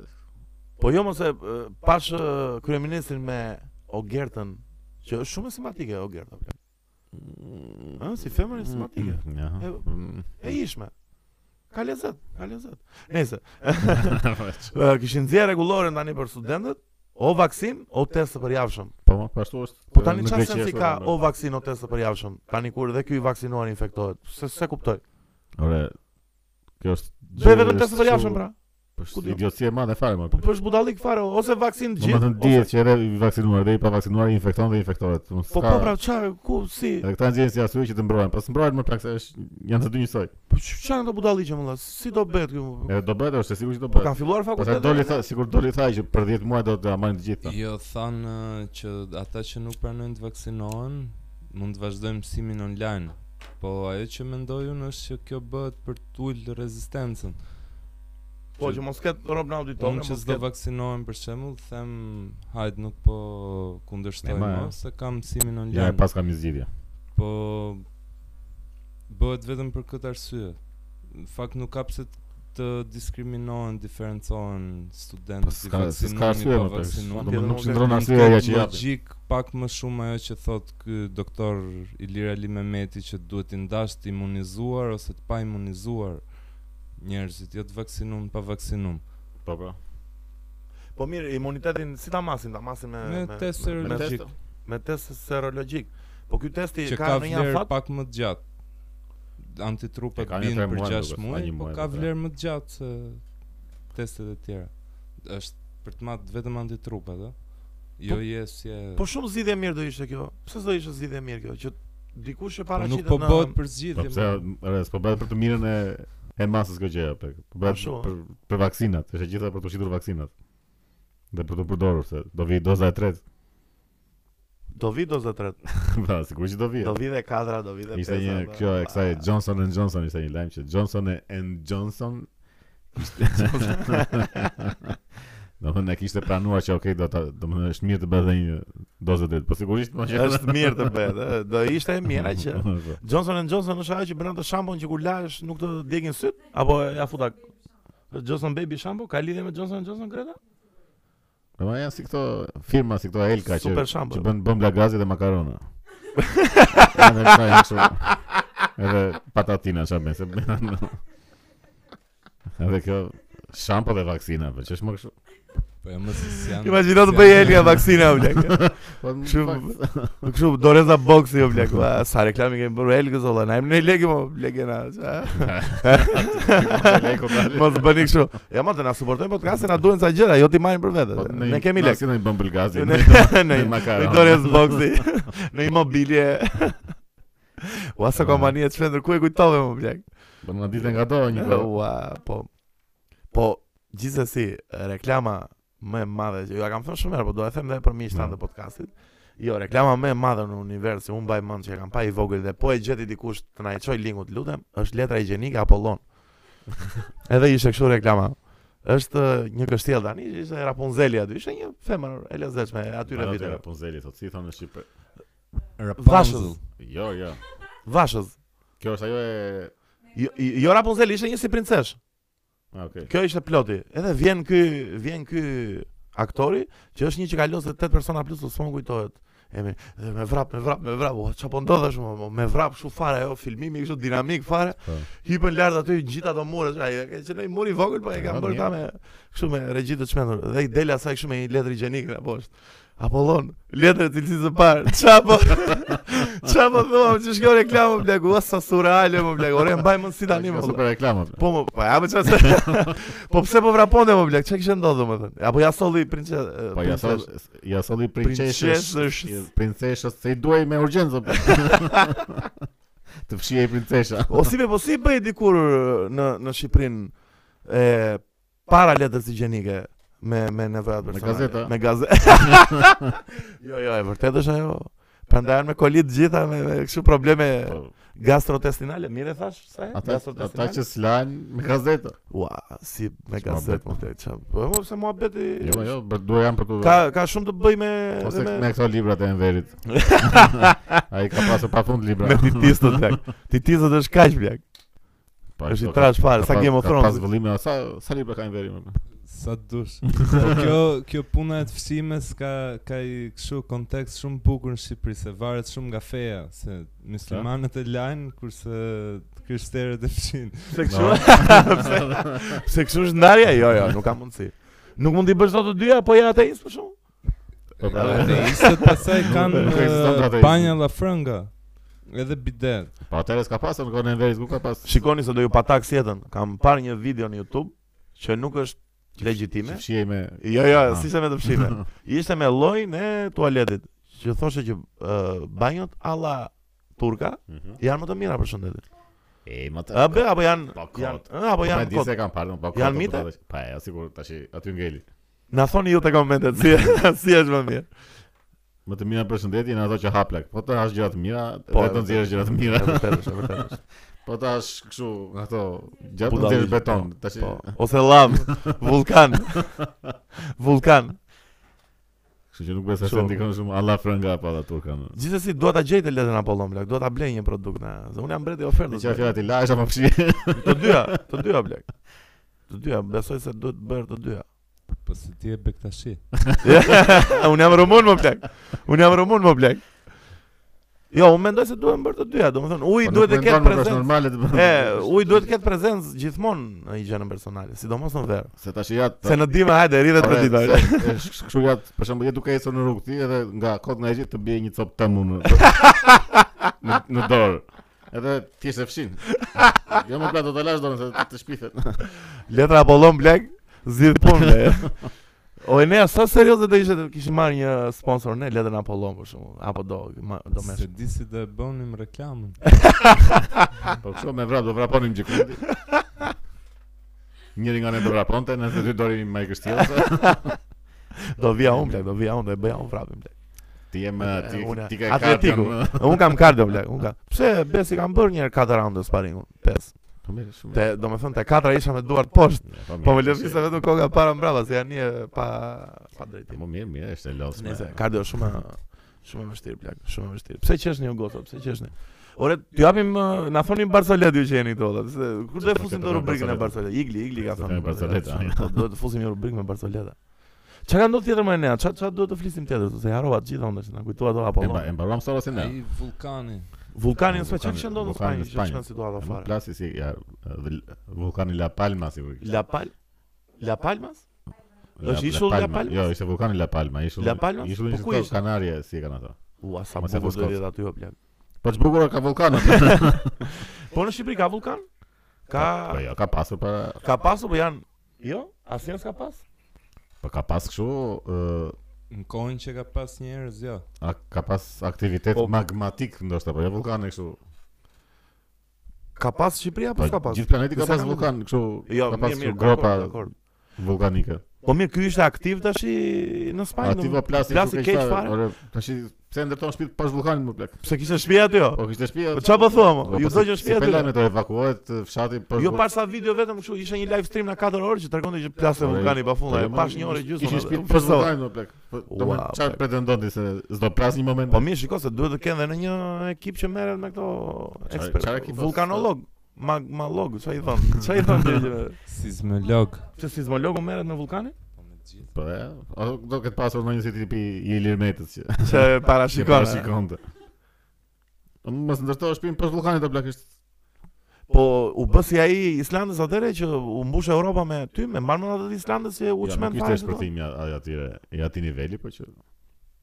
Po jo mos e e, pash e, kryeministrin me Ogertën që është shumë e simpatike Ogerta blek. Ëh, si femër e simpatike.
Ja.
E- E ishme. Ka lezet, ka lezet. Nëse, kishin nxjerrë rregulloren tani për studentët, o vaksin, o test të përjavshëm.
Po ma, po ashtu është.
Po tani
Në
çfarë
Greqi
sensi
është,
ka
ore,
o vaksin, o test të përjavshëm? Tani kur edhe ky i vaksinuar infektohet. Se se kuptoj.
Ore. Kjo është.
Bëj vetëm test të përjavshëm pra.
Po është
Ku di-
idioci e madhe fare më.
Po po është budallik fare o- ose vaksin
Do të
gjithë.
thënë dihet që edhe i vaksinuar dhe i pa vaksinuar i infekton dhe i infektohet. Do
ose- Po po pra çfarë ku si?
Edhe këta nxjerrin si arsye që të mbrohen. Pas mbrohen më pak se është janë të dy njësoj.
Po ç- çfarë do budalliqe më valla? Si do bëhet kjo?
Edhe do bëhet është e sigurt që do
Po
bëhet.
kanë filluar
Pastaj doli
fakultetin.
tha, sikur doli tha që për 10 muaj do të marrin të gjithë.
Jo thanë ë, që ata që nuk pranojnë të vaksinohen mund të vazhdojnë mësimin online. Po ajo që mendoj unë është që kjo bëhet për të ulë rezistencën.
Po që mos ketë rob në auditor,
Unë që
mos
s'do
ketë.
vaksinohen për shembull, them hajt nuk po kundërshtojmë
E, ma, e.
më se kam mësimin
Ja,
online.
e pas kam një zgjidhje.
Po bëhet vetëm për këtë arsye. Në fakt nuk ka pse t- të diskriminohen, diferencohen
Po
studentët si po,
s'ka s'ka
vaksinuar
arsye më
apo
tash.
vaksinuar.
Do të nuk qëndron
Në
arsye ajo që japi.
Logjik pak më shumë ajo që thot ky doktor Ilir Ali Mehmeti që duhet i ndash të imunizuar ose të pa imunizuar njerëzit, jo të vaksinum pa vaksinum.
Po po.
Po mirë, imunitetin si ta masin, ta masin me
Me test serologjik
me test serologjik. Po ky testi
që
ka
ka
ndonjë
vlerë
afat?
pak më të gjatë. Antitrupat
E ka një
bin
tre
për
muaj,
6
duket,
muaj,
ka një
po
muaj,
ka
duket.
vlerë më të gjatë se testet e tjera. Është për të matë vetëm antitrupat, ëh. Jo
Po-
jesje.
Po shumë zgjidhje mirë do ishte kjo. Pse s'do ishte zgjidhje mirë kjo? Që dikush e
Po
paraqitet
nuk po bëhet për
Po
zgjidhje.
pse ore, s'po bëhet për të mirën e e masës kjo gjë apo. Po bëhet
Ashtu, a?
për për vaksinat, është e gjitha për të shitur vaksinat. Dhe për të përdorur se do vi doza e tretë.
Do vi doza tretë.
Po sigurisht që do vi.
Do vi dhe kadra, do vi dhe
Ishte një
pesa,
kjo
do-
e kësaj Johnson and Johnson ishte një lajm që Johnson and Johnson ishte Do më ne kishte pranuar që okay do ta do më thënë, është mirë të bëhet edhe një dozë e tretë. Po sigurisht më që
Është mirë të bëhet, ë. do ishte e mira që
Po.
Johnson and Johnson është ajo që bën atë shampon që kur lahesh nuk të djegin syt apo ja futa Johnson Baby shampo ka lidhje me Johnson and Johnson Greta?
Po ma janë si këto firma, si këto Elka që
Super shampo.
që bën bën blagazi dhe makarona. edhe këta janë kështu. Edhe patatina çfarë bën se bën. Edhe kjo shampo dhe vaksina, po ç'është më kështu.
Po jo më se si janë.
Imagjino të
si
bëj
janë-
Elga vaksina blek.
Po në
Kështu-
fakt-
Kështu Doreza Boxi jo blek. Va, Sa reklami kemi bërë Elgës olla, na jemi në lekë mo blek e na. qa? Mos bëni kështu. Ja më të na suportojnë podcastin, na duhen sa gjëra, jo ti marrin për vete.
Po, në-
Ne kemi
në
lek.
Si në i bën bulgazi.
Në në
në makaron.
në dorës boksi, në imobilje. Ua sa kompani e të shpendër, ku e kujtove më blek?
Po në ditën nga do
Jo,
një kohë.
Ua, po. Po, gjithsesi, reklama më e madhe, që ju ja kam thënë shumë herë, po do e them dhe për miqtë tanë
Po.
të podcastit. Jo, reklama më e madhe në univers, që unë mbaj mend që e kam pa i vogël dhe po e gjeti dikush të na i çoj linkut, lutem, është letra higjienike Apollon. Edhe ishte kështu reklama. Është eh, një kështjell tani, ishte Rapunzeli aty, ishte një femër e lezetshme atyre
Ato
viteve.
Rapunzeli thot, si thonë në Shqipë.
Vashës,
Jo, jo.
Vashës.
Kjo është ajo e
Jo, jo Rapunzeli ishte një si princesh.
Ah, okay.
Kjo ishte ploti. Edhe vjen ky, vjen ky aktori që është një që ka lënë 8 persona plus, po s'm kujtohet. Emri, dhe me vrap, me vrap, me vrap, o, ç'a po ndodhesh më, mo, me vrap kështu fare, ajo filmimi kështu dinamik fare.
Po.
Hipën lart aty gjit ato mure, ai ka qenë një mur i vogël, po e
Ja,
kanë bërë ta me kështu me regji të çmendur. Dhe i del asaj kështu me një letër higjienike apo po është. Apollon, letër e cilësisë së parë. Ç'a po? Ç'a po thua, që shkon reklamë blagu, sa surreale më blagu. Ore mbaj mend si tani më.
Ka
vëlla.
super reklama. bla.
Po më, po ja më ç'a se. Po pse po vraponte më blaq? Ç'a kishte ndodhur domethënë? Apo ja solli princeshë.
Po ja solli ja solli princeshës,
Princeshës.
princeshës se i duaj me urgjencë. bla. Të fshihej princesha.
O si be, po si bëj dikur në në Shqipërinë e para letrës higjienike me me nevojat
Me
personale.
gazeta.
Me gazetë. jo, jo, e vërtetë është ajo. Prandaj janë me kolit gjitha me, me kështu probleme
Po,
gastrointestinale, mirë e thash sa? e?
Ata ata
Gastrointestinale.
që s'lan me gazetë.
Ua, si me
Ç'ma
gazetë
bëj,
më këtë çfarë. Po mo se muhabeti
Jo, jo, bër- duaj jam për tu.
ka ka shumë të bëj me
Ose
me,
me këto librat e Enverit. Ai ka pasur pafund libra.
me titistët blak. Pra. Titistët është kaq blak.
Po,
Është i
ashtu ka-
trash fare,
ka
sa
pas-
Game of
ka Pas
Thrones.
vëllime, sa sa libra ka Enveri më?
Sa të dush. Po kjo kjo puna e të fshimës ka ka i kështu kontekst shumë bukur në Shqipëri se varet shumë nga feja, se muslimanët e lajnë kurse krishterët e fshin.
Pse kështu? pse pse kështu është ndarja? Jo, jo, nuk ka mundësi. Nuk mund t'i bësh ato të dyja, po ja ateist për shkakun.
Po, pra,
Ateistët pasaj kanë
Nuk ekziston
eh,
ateizmi.
banja la frënga edhe bidet.
Po atëherë s'ka pasur në kohën e Enverit, ku ka pas?
Shikoni se do ju pataks jetën. Kam parë një video në YouTube që nuk është legjitime.
Fshihej me
Jo, jo,
Ah.
si ishte me të pshime. Ishte me llojin e tualetit, që thoshte që uh, banjot alla turka
Mhm.
janë më të mira për shëndetin.
E, ma të...
A be apo janë
Po, kot.
janë ë, apo
janë
janë
kot.
kot.
Se kanë parë, po kot.
Janë mite?
Pa, ja sigur tash aty ngeli.
Na thoni ju te komentet si si është më mirë.
Më të mira për shëndetin janë ato që hap lak. Po ta hash gjëra të mira,
Po,
po të nxjerrësh gjëra të mira.
E vërtetë është, e vërtetë është.
Po ta hash kështu ato gjëra të
Budallizm,
nxjerrësh beton. Tash
Po, ose llam, vulkan. vulkan.
kështu që nuk besoj se
Kështu.
ndikon shumë alla franga apo alla turkan.
Gjithsesi dua ta gjej të letën Apollon Blak, dua ta blej një produkt na. Se unë jam breti i
Në
ofertës.
çfarë
blak.
fjalë ti lash apo fshi?
Të dyja, të dyja Blak. Të dyja, besoj se duhet bërë të dyja.
Po se ti e bektashi.
unë jam rumun më Blak. Unë jam rumun më Blak. Jo, unë mendoj se duhen bërë të dyja, domethënë
Po,
uji duhet të ketë prezencë.
normale të bën.
E, uji duhet të ketë prezencë gjithmonë në higjienën personale, sidomos në verë.
se tash jat.
Se në dimë hajde rritet për ditë. Blak.
Kështu jat, për shembull, je duke ecur në rrugë ti edhe nga kot nga e gjithë të bie një cop tëm unë. Në në dorë. Edhe ti e fshin. Jo më plato të lash dorën se të shpifet.
Letra Apollon Black, zgjidh punë. be. O e nea, sa serioze do ishte të kishim marrë një sponsor ne, letrën Apollon për shumë, apo do, ma, do
Se
mesh.
di si do e bënim reklamën.
Po kështu me vrap do vraponim gjikundi. Njëri nga ne do vraponte, nëse dy dori më i kështjellse.
Do vija unë Black, do vija unë, do e bëja unë vrapim Black.
Ti je më ti
Unë-
ti ke
atletiku.
kartën.
Unë kam kardio Black, unë kam. Pse, besi kam bërë njerë 4 raunde sparingun, 5.
Po mirë, shumë.
Te, do me thënë, te 4 isha me duart poshtë,
mirë,
po më
mirë,
lëvizte vetëm koka para mbrapa, se janë një pa, pa drejtim.
Po mirë, mirë, është e lodhshme.
Nëse kardio është shumë shumë e vështirë plak, shumë e vështirë. Pse qesh një gotë, pse qesh një? Ore, t'ju japim ë, na thoni Barcelet ju që jeni këto, ose pse kur do e
Po,
fusim
këtë
të
kanë
rubrikën e
Barceleta.
Barcelet? Igli, igli ka
Këtë
thënë.
kanë Barceleta,
Shumë,
ja.
po, Duhet të fusim një rubrikë me Barceleta. Çka ka ndodhur tjetër më ne? Çka çka duhet të flisim tjetër? Se harova të gjitha unë tash, na kujtoa do apo. po?
E mba- E mbaruam sot ose ne?
Ai vulkani.
Vulkani
Vulkani,
në Spanjë që ndodh në
vulkani
Spanjë,
në
që
Spanjë.
çan situata
E, më
po fare.
Plasi si ja, dhe l- vulkani La Palma si po kur.
La Pal La Palmas?
La-
është ishull La Palmas?
Jo, ishte vulkani La Palma, ishull.
La Palmas?
Ishull
Po
ishte
ku
këto
ishte?
Kanarie si e kanë ato.
Ua, sa
Mos e
bukur do
fuskot.
jetë aty o plak.
Po çbukur ka vulkani.
Po në Shqipëri ka vulkan? Ka
Po jo, ka pasur para,
ka pasur, po janë Jo, asnjërs ka pas.
po ka pas kështu ë,
Në kohën që ka pas njerëz, jo.
a ka pas aktivitet
Po-
magmatik ndoshta, po jo vulkani kështu.
Ka pas Shqipëria apo
Po
s'ka pas?
gjithë planeti ka
Pse
pas
ka
vulkan kështu,
Jo,
ka pas
mirë, mirë,
kështu gropa
dakor, dakor.
vulkanike.
Po mirë, ky ishte aktiv tash i- në Spanjë.
Aty po
domethënë.
plasi
plasi
kështu
keq
ishte,
fare.
Ore, tash pse ndërton shtëpi pas vulkanit më plak.
Pse kishte shtëpi aty jo?
Po kishte shtëpi.
Po çfarë po thua mo?
Po,
Ju
po,
thonë që
si-
shtëpi
Si
aty.
pelane të evakuohet ë, fshati për
Jo pas sa video vetëm kështu, ishte një live stream na 4 orë që tregonte që plasë
Ore,
vulkani pa fund,
po,
e
jo,
pash
mo,
një orë gjysmë.
Kishin shtëpi
edhe u
për
përsoj.
vulkanin më plak. Po do
Ua,
të çfarë
plak.
pretendon ti se s'do plas një moment.
Po mirë, shiko se duhet të kenë edhe një ekip që merret me këto
çfarë
ekspertë.
ekipa?
Vulkanolog, magmalog, çfarë i thon? Çfarë i thon ti? që-
Sismolog.
Pse sismologu merret me vulkanin?
Po e, ato do këtë pasur ndonjë si tipi i Ilir Metës që që
Që parashikon. eh. e?
shikonte. Po mos ndërtohesh shtëpinë pas vulkanit do plak është.
Po u bë si ai Islandës atëre që u mbush Europa me ty, me mbarmën atë të Islandës që u
Ja,
çmend
nuk
fare.
ishte
se do.
shpërthimi aty aty niveli, po që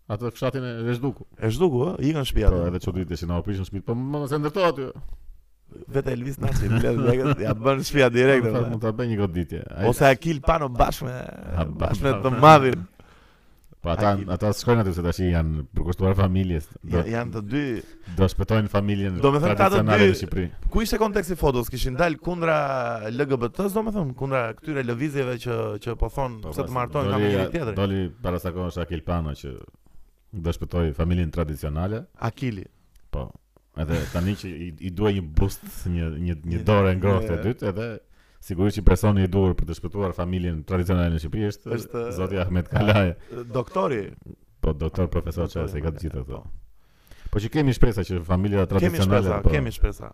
Atë fshatin e Rezhduku.
po. E zhduku, ë, ikën në shtëpi
Po,
atë.
edhe çudit ishin na u prishin shtëpi, po më mos e ndërto aty.
Vetë Elvis Naçi, ja bën në shtëpi direkt.
Fa-
atë.
Mund ta bëj një goditje. Ai-
Ose Akil Pano bashkë me
ba-
bashkë me
ba-
të madhin.
Po ata
Ai-
ata shkojnë aty se tash janë përkushtuar familjes. Do,
Ja- Janë të dy.
do shpëtojnë familjen
Do me thënë ta të
tradicionale
dy-
në Shqipëri.
Ku ishte konteksti i fotos? Kishin dal kundra LGBT-s, domethënë, kundra këtyre lëvizjeve që që po thon
Po,
pse
pas-
të martojnë nga
doli-
me njëri tjetrin.
Doli para sa kohësh Akil Pano që do shpëtoi familjen tradicionale,
Akili.
po edhe tani që i, i duhet një boost, një një një dorë e ngrohtë e
Një-
dytë, edhe sigurisht që personi i duhur për të shpëtuar familjen tradicionale në Shqipëri është,
Është-
zoti Ahmet Kalaje.
Doktori.
Po doktor, profesor,
Doktor,
çfarë se i ka të gjitha
po.
ato. Po që kemi shpresa që familja
Kemi
tradicionale
shpesa,
po,
kemi shpesa.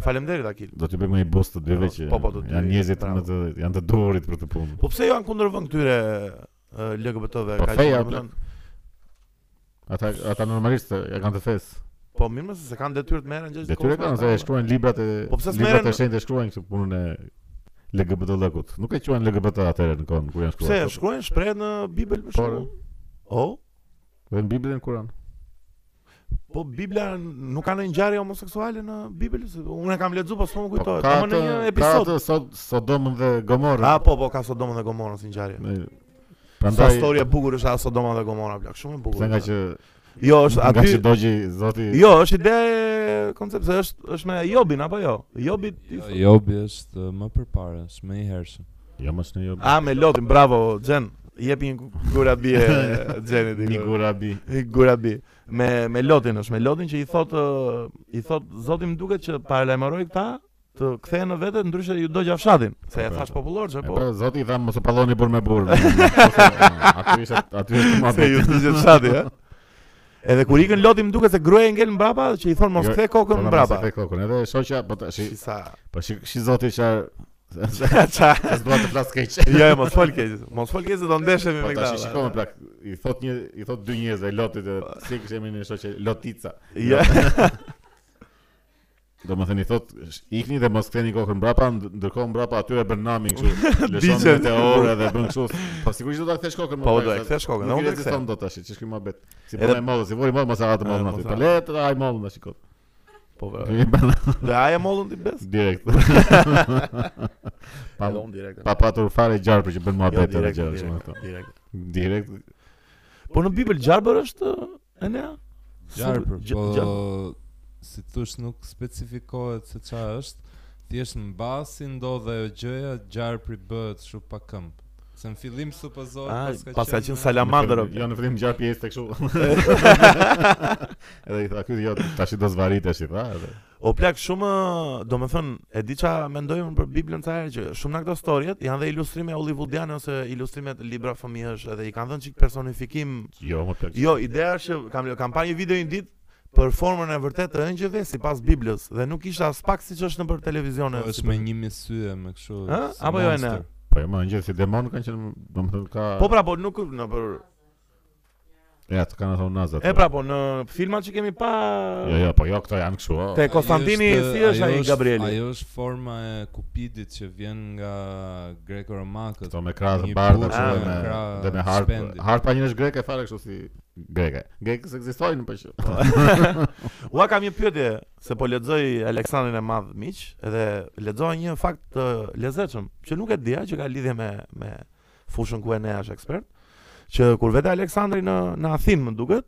Faleminderit Akil.
do t'i bëjmë një boost të dyve
Po,
që
po, po, të dy,
janë njerëzit
bravo.
më të janë të duhurit për të punë.
Po pse janë kundër vën këtyre eh, LGBT-ve?
Po
Ka
feja,
qenë,
plak.
domethënë,
Ata ata normalisht e kanë të fesë.
Po mirë më se se kanë detyrë të merren gjë.
Detyra kanë se e shkruajnë librat e
Po pse
librat e
s'merren-
shenjtë e shkruajnë këtë punën e LGBT lëkut. Nuk e quajnë LGBT atëherë në kohën kur janë
Pse
shkruar.
e shkruajnë shpreh në Bibël për
Por-
shembull? O,
Dhe në Biblën e Kur'an.
po Bibla nuk ka ndonjë ngjarje homoseksuale në Bibël? se Unë e kam lexuar, po s'po më
Po
kujtohet.
ka
Kam në
atë-
një
ka
episod.
atë Sod- Sodomën dhe
A
Gomorën.
po po ka Sodoma dhe Gomorra si ngjarje.
Ne-
Sa
Prandaj
histori e bukur është ajo Sodoma dhe Gomorra plak, shumë e bukur.
pse nga
është.
që
Jo, është
nga
aty
që dogji zoti
Jo, është ide koncept se është është me Jobin apo jo? Jobi
Jobi është uh, më përpara, është më i hershëm.
jo mos në jo.
A me Lotin, bravo Xhen. Jep një gurabi e Xhenit. i
Një gurabi.
I Gurabi me me Lotin është, me Lotin që i thot ë, i thot zoti më duket që paralajmëroi këta të kthehen në vete ndryshe ju do gjafshatin. Se e
Po,
thash popullor
E
çe po.
Po zoti i tha mos u palloni burr me burr. Ah, Aty është aty është më
Se ju
atë.
do gjafshati, ë. Edhe kur ikën Loti më duket se gruaja e ngel mbrapa që i thon mos
Jo,
kthe kokën mbrapa.
Edhe shoqja po tash
Si sa.
po shi shi zoti çfarë
Ça.
s'dua të flas keq.
Jo, jo, mos fol keq. Mos fol keq se do ndeshemi
Po
me
tash shikoj me
këta.
plak, i thot një i thot dy njerëzve lotit, e, si e kishte emrin e shoqë Lotica.
Jo.
Domethënë i thot sh- ikni dhe mos ktheni kokën mbrapa, nd- ndërkohë mbrapa aty e bën nami kështu. Lëshon
Digjen.
vetë orë dhe bën kështu. Po sigurisht do ta kthesh kokën. më
Po
pak,
do e
se
kthesh kokën,
Nuk
unë do
i
e
reziston
kthem.
dot tash, ç'është ky mohabet. Si
Edhe-
po e mollë, si vori mollë mos e hatë mollën
E, mos
aty.
e
Po
hatë.
le të haj mollën tash kot.
Po. po.
I bën
Dhe aja mollën ti bes.
direkt. Pa
Edhe unë direkt.
pa patur fare gjarë për që bën
Jo,
mohabet edhe
direkt,
gjëra shumë
direkt,
ato.
direkt.
Direkt
Po në Bibël Gjarber është e nea?
Gjarpër,
Gj-
po
Gjarpër.
si thosh nuk specifikohet se çfarë është. Thjesht mbasi ndodhe ajo gjëja, gjarpri bëhet shumë pa këmb. Se në fillim
Ah,
supozohet
pas ka qenë
Në
salamandër.
fillim- Jo, në fillim gjatë pjesë tek kështu. Edhe i tha, "Ky jo, tash i do zvaritesh i tha." Edhe.
O plak shumë, do me thënë, e di qa mendoj unë për Biblën të herë që shumë nga këto storjet janë dhe ilustrime hollywoodiane ose ilustrime të libra fëmijësh edhe i kanë dhënë çik personifikim.
Jo, më plak.
Jo, ideja është që kam kam pa një video një ditë për formën e vërtetë të ëngjëve sipas Biblës dhe nuk ishte as pak siç është nëpër televizion.
Po është me një misye me kështu.
Ë?
si
Apo jo e ne?
monster.
Po e më ngjë si demon kanë qenë, domethënë ka.
Po pra, po nuk nëpër
Ja, të kanë thonë nazat.
E pra, po në filmat që kemi pa
Jo, jo, po jo, këto janë kështu. o.
Te
Ai
Konstantini si është ai Gabrieli?
Ajo është forma e kupidit që vjen nga
Po,
greko-romakët.
Këto me krahë të
Një
bardha
burë
kështu
me
dhe me
krahë
dhe me harp.
shpendi.
Harpa një është greke fare kështu si greke. Grekët ekzistojnë po që.
Ua kam një pyetje se po lexoj Aleksandrin e Madh miq dhe lexova një fakt të lezetshëm që nuk e dija që ka lidhje me me fushën ku Enea është ekspert, që kur vetë Aleksandri në në Athinë më duket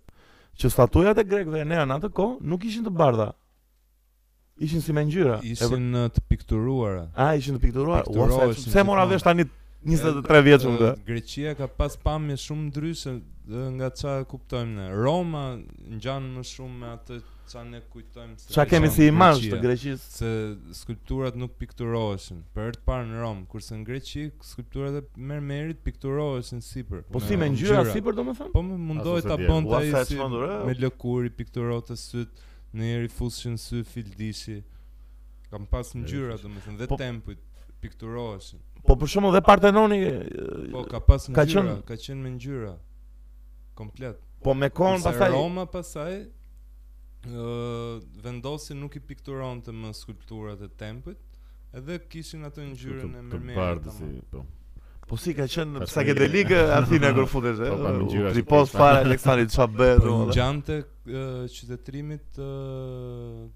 që statujat e grekëve Enea në atë kohë nuk ishin të bardha. Ishin si me ngjyra. E vër-
Ishin ë, të pikturuara.
a ishin të pikturuar. Ua, se,
Pikturoheshin
pse mora
gjithmonë.
vesh tani 23 vjeçëm
Ë,
këtë?
Greqia ka pas pamje shumë ndryshe ë, nga ça kuptojmë ne. Roma ngjan më shumë me atë ça ne kujtojmë se
Qa kemi
Roma,
si imazh të
Greqia.
Greqisë?
se skulpturat nuk pikturoheshin. Për herë të parë në Rom, kurse në Greqi skulpturat e mermerit pikturoheshin sipër.
Po si me ngjyra sipër domethënë?
Po më mundohet
Asu se
ta
dje.
bënte
Ua,
ai
sa e
si
çmendur, e?
me lëkuri pikturohet të syt, në njëri fushin sy fildishi. Kam pas ngjyra domethënë dhe
Po-
tempujt pikturoheshin.
Po për shembull dhe Partenoni
Po ka pas
Ka
ngjyra, ka qenë
qenë-
me ngjyra. Komplet.
po me kon
Kurse
pastaj
Roma pastaj ë vendosi nuk i pikturonte më skulpturat e tempujt, edhe kishin atë ngjyrën e mermerit.
si,
tamam.
po.
Po si ka qenë
Pas
psikedelikë Athina kur futesh, e?
Po, pa mëngjyra
U Ripoz
shpesh, pa.
fare Aleksandri çfarë bëhet
Po në
domethënë.
gjante ë, qytetërimit ë,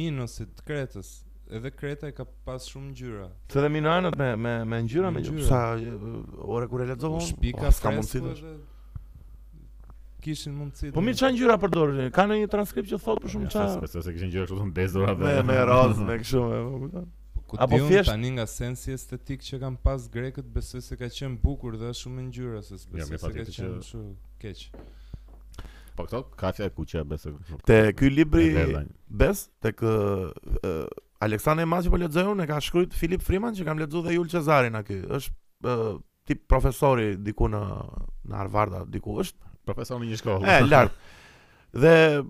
minusit të Kretës. Edhe Kreta e ka pas shumë ngjyra.
Se dhe minanët me me me ngjyra me
Ngjyra.
sa e, ore kur e lexova unë,
Shpika
oh, s'ka mundësi.
fresko
tash.
edhe kishin mundësi.
Po mirë çfarë ngjyra përdorin? Ka ndonjë transkript që thot për shumë
Ja, sa
çfarë
Besoj se kishin gjëra kështu të ndezura
me me rozë me kështu me po kupton. apo
apo
thjesht-
tani nga sensi estetik që kanë pas grekët, besoj se ka qenë bukur dhe shumë ngjyra se
Jo,
Ja,
besoj
mirë,
se ka
patjetër
qenë
që-
kështu keq.
Po këto kafja e kuqe besoj.
Te ky
E
libri
verdha.
Bes tek uh, Aleksandri Maçi po lexoj unë e ka shkruajt Filip Friman që kam lexuar dhe Jul Cezarin aty. Është ë, tip profesori diku në në Harvard a diku është
Profesor në një shkollë.
E, lart. Dhe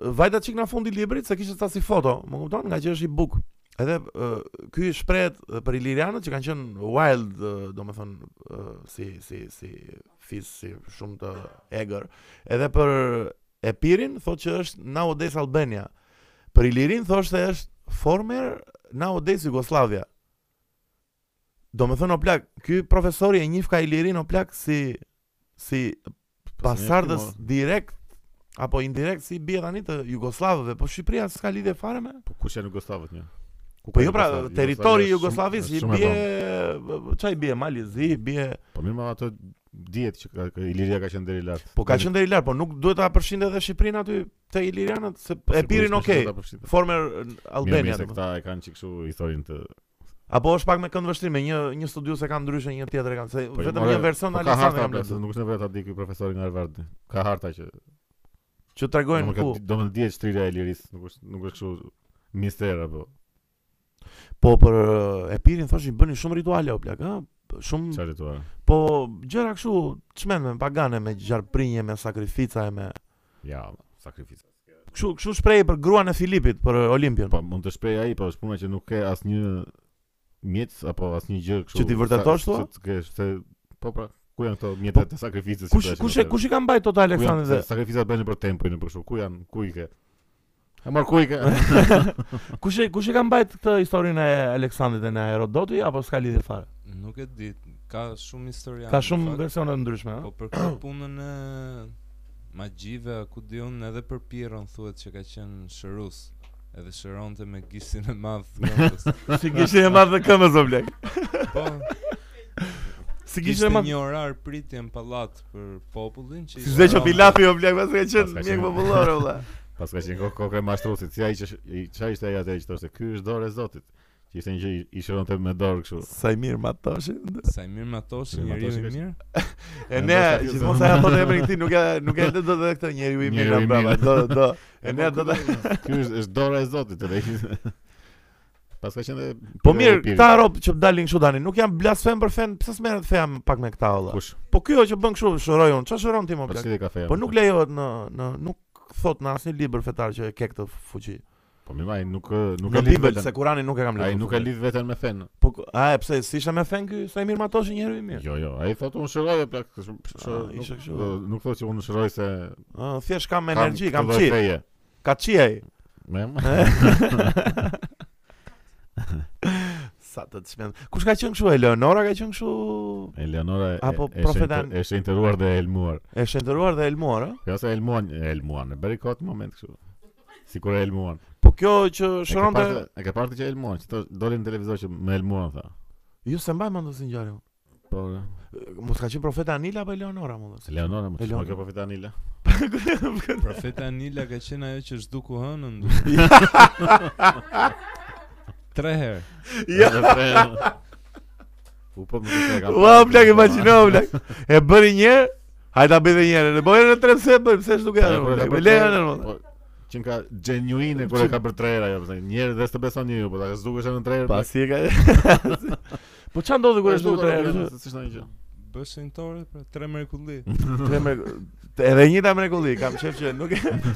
vajta çik në fund i librit se kishte ca si foto, më kupton, nga që është i buk. Edhe uh, ky shprehet ë, për ilirianët që kanë qenë wild, uh, domethënë ë, si si si fis si shumë të egër. Edhe për Epirin thotë që është nowadays Albania. Për Ilirin thoshte se është former nowadays Jugoslavia. Do me thënë Oplak, ky profesori e njif ka Ilirin Oplak si si
Po
pasardhës
njefti,
direkt apo indirekt si bie tani të Jugoslavëve, po Shqipëria s'ka lidhje fare me.
Po kush janë Jugoslavët një?
Po jo pra,
Jugoslavia-
territori i
Jugoslavia
Jugoslavisë i
shumë- shumë e
bie çaj bie Mali, zi bie,
Po mirë, ma ato dihet që ka- ka- Iliria ka qenë deri lart.
po ka qenë deri lart, po nuk duhet ta përshinte edhe Shqipërinë aty te Ilirianët se
po
e pirin okay. Former uh,
Albania.
Albania.
Se
domethënë.
këta e kanë çik kështu historinë të
Apo është pak me kënd vështrim, me një një studius e ka ndryshe, një tjetër e ka se
Po,
vetëm
more,
një version
Po ka
Aleksandri
harta
jam
pra, se
lexuar.
nuk është nevojë ta di ky profesori nga Harvard. Ka harta që
Që tregojnë
domethënë
ku.
ka- domethënë dihet shtrirja e liris, nuk është nuk është kështu mister apo
Po për e pirin thoshin bëni shumë rituale o plak, ë? Shumë
çfarë thua.
po gjëra kështu çmendme pagane me gjarprinje, me sakrifica e me
Ja, sakrificë.
kështu kështu shpreh për gruan e Filipit për Olimpian.
Po mund të shpreh ai, po është puna që nuk ke asnjë mjec apo asnjë gjë kështu.
Që ti vërtetosh,
sa-
thua? Po,
që të kesh se po pra, ku janë këto mjetet e sakrificës? që
Kush
bëheshin
kush e-
atëherë?
kush i ka mbajt total
Ku janë
Aleksandrin
se
dhe
sakrificat bëhen për tempojnë për shkak. Ku janë? Ku i ke? E marr ku i ke?
kush e- kush i ka mbajt këtë historinë e Aleksandrit dhe në Herodoti apo s'ka lidhje fare?
Nuk e di, ka shumë historia.
Ka shumë versione të ndryshme, ë?
Po për këtë punën e magjive, ku diun edhe për Pirën thuhet që ka qenë shërus. Edhe shëronte me gishtin e madh të këmbës.
Po,
Si kishin e madh në këmbës o plak.
Po,
Si kishin
kishte
e madh
një orar pritje në pallat për popullin që
Si zveqo
shëronte.
Filapi o plak, pas ka qenë
Pas ka
mjek
qenë.
popullor o vlla.
Pas ka qenë ko- kokë e mashtrusit, si ai që sh- i- çfarë ishte ai atë që thoshte, "Ky është dorë e Zotit." Që ishte një gjë i- i shëronte me dorë kështu.
Sa i mirë matoshin.
Sa i mirë Matoshi,
Mirë
njeriu
Matoshi
i
ka qenë.
mirë.
E
E
ne,
ndoshta kjo
gjithmonë
zonë.
sa ja thotë emrin këtij, nuk e nuk e lë dot edhe këtë njeriu i mirë
Njeriu i
brava.
mirë.
Do do. E ne do të
Ky është është dora e Zotit edhe. ishte- Pas ka qenë edhe
Po
pyra e
mirë,
pirit.
këta rob që dalin kështu tani, nuk janë blasfem për fen, pse s'merret feja m- pak me këta olla.
kush?
Po ky o që bën kështu, shëroj unë, çfarë shëron ti më
Po
plak?
si dhe kafeja.
Po nuk lejohet në në nuk thot në asnjë libër fetar që e ke këtë fuqi.
Po mirë, ai nuk nuk e
Në
lidh
Bibël, se
veten.
Kurani nuk e kam
Ai
lexuar.
nuk e lidh veten me fen.
Po ku- a e pse s'ishte me fen ky, sa i mirë matoshin njeriu i mirë.
Jo, jo, ai thotë unë shëroj plak, sh- sh-
Ah,
nuk-
ishte kështu.
ë, nuk thotë që unë shëroj se
Ë, thjesht kam energji, kam
këtë lloj
qi.
feje.
Ka qi ai.
Mem.
Sa të të shmend. Kush ka qenë kështu? Eleonora ka qenë kështu
Eleonora e-
Apo
e-
profeta-
është inter- është interuar dhe e elmuar.
e shëndëruar dhe elmuar, ë?
Ja se elmuan, e elmuan, e bëri kot moment kështu. Sikur e elmuan.
Po kjo që
E ke
shëronte
parë- E ke parë të që elmuan, që thosh, dolin në televizor që më elmuan tha.
ju se mbaj mend si ngjarje. unë.
Po,
Mos ka qenë profeta Anila apo Eleonora më
se
thos.
Leonora më
Eleonora.
thonë kjo profeta Anila.
Profeta Anila ka qenë ajo që zhduku hënën. Tre herë.
Ja.
Edhe tre- U po më thënë ka.
Ua blak imagjino blak. E bëri një herë, hajde ta bëj edhe një herë. Ne bëjë në tre pse bëj, pse s'u ka. Me Leonora më thos.
po, Që ka genuine kur e ka për tre herë ajo, pse njerë dhe s'të beson njeriu, po ta zgjukesh në tre herë.
Pasi e ka. Po çan ndodhi kur është tre herë?
S'është ndonjë gjë.
Bëshin tore pra tre mrekulli.
Tre mre- Edhe një ta mrekulli, kam qef që nuk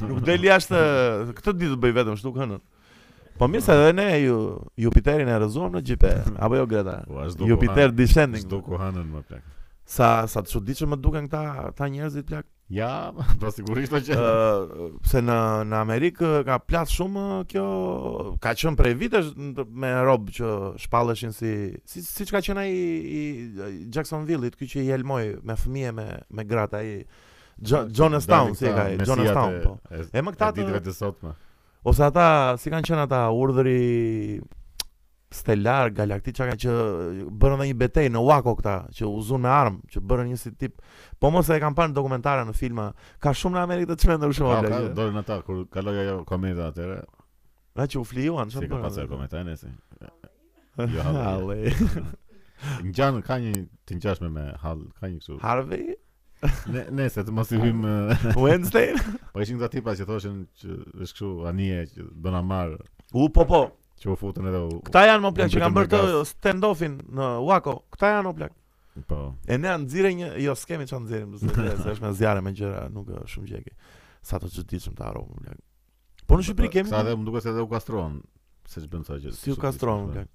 nuk del jashtë këtë ditë bëj vetëm shtuk hënën. Po mirë se edhe ne ju Jupiterin e rrëzuam në gjipe, apo jo Greta?
Ua, s'duku
Jupiter
hanë.
descending.
S'duku hanën më plak.
Sa sa të çuditshëm më duken këta këta njerëzit plak.
Ja, po sigurisht do që.
Ë, pse në në Amerikë ka plat shumë ë, kjo ka qenë prej vitesh nd- me rob që shpalleshin si si siç ka qenë ai i, i Jacksonville-it, ky që i helmoi me fëmijë me me gratë ai Jo- Jonestown si e ka, ai, Jonestown po. E më këta
të ditëve
të
të sotme.
ose ata si kanë qenë ata urdhri stelar galaktik çka kanë që bërën dhe një betejë në Waco këta që uzun me armë që bërën një si tip po mos e kanë parë në dokumentare në filma ka shumë në Amerikë të çmendur shumë jo?
Ka,
bla,
Ah, ka,
që-
dolën ata kur kaloi ajo kometa atëre,
Na që u flijuan,
si
çfarë
ka
bën?
pasur kometa e nesi. Jo,
Halle.
Ngjan ka një të ngjashme me hall, ka një kështu.
Harvey
Ne nese të mos i hym. eh,
Wednesday.
Po ishin këta tipa që thoshin që është kështu anije që do na marr,
U po po.
që u futën edhe u.
Këta janë më plak që
Unë
kanë bërë
vetëm
të stand-offin në Waco. Këta janë më plak.
Po.
E ne nxirë një jo skemi çan nxjerrim, se se është me zjarre me gjëra, nuk ë, shumë gjeke. Sa të çuditshëm të harrojmë plak. Po në Shqipëri kemi.
Sa edhe më duket se edhe u kastrohen. Se ç'bën sa gjë.
Si u kastron plak.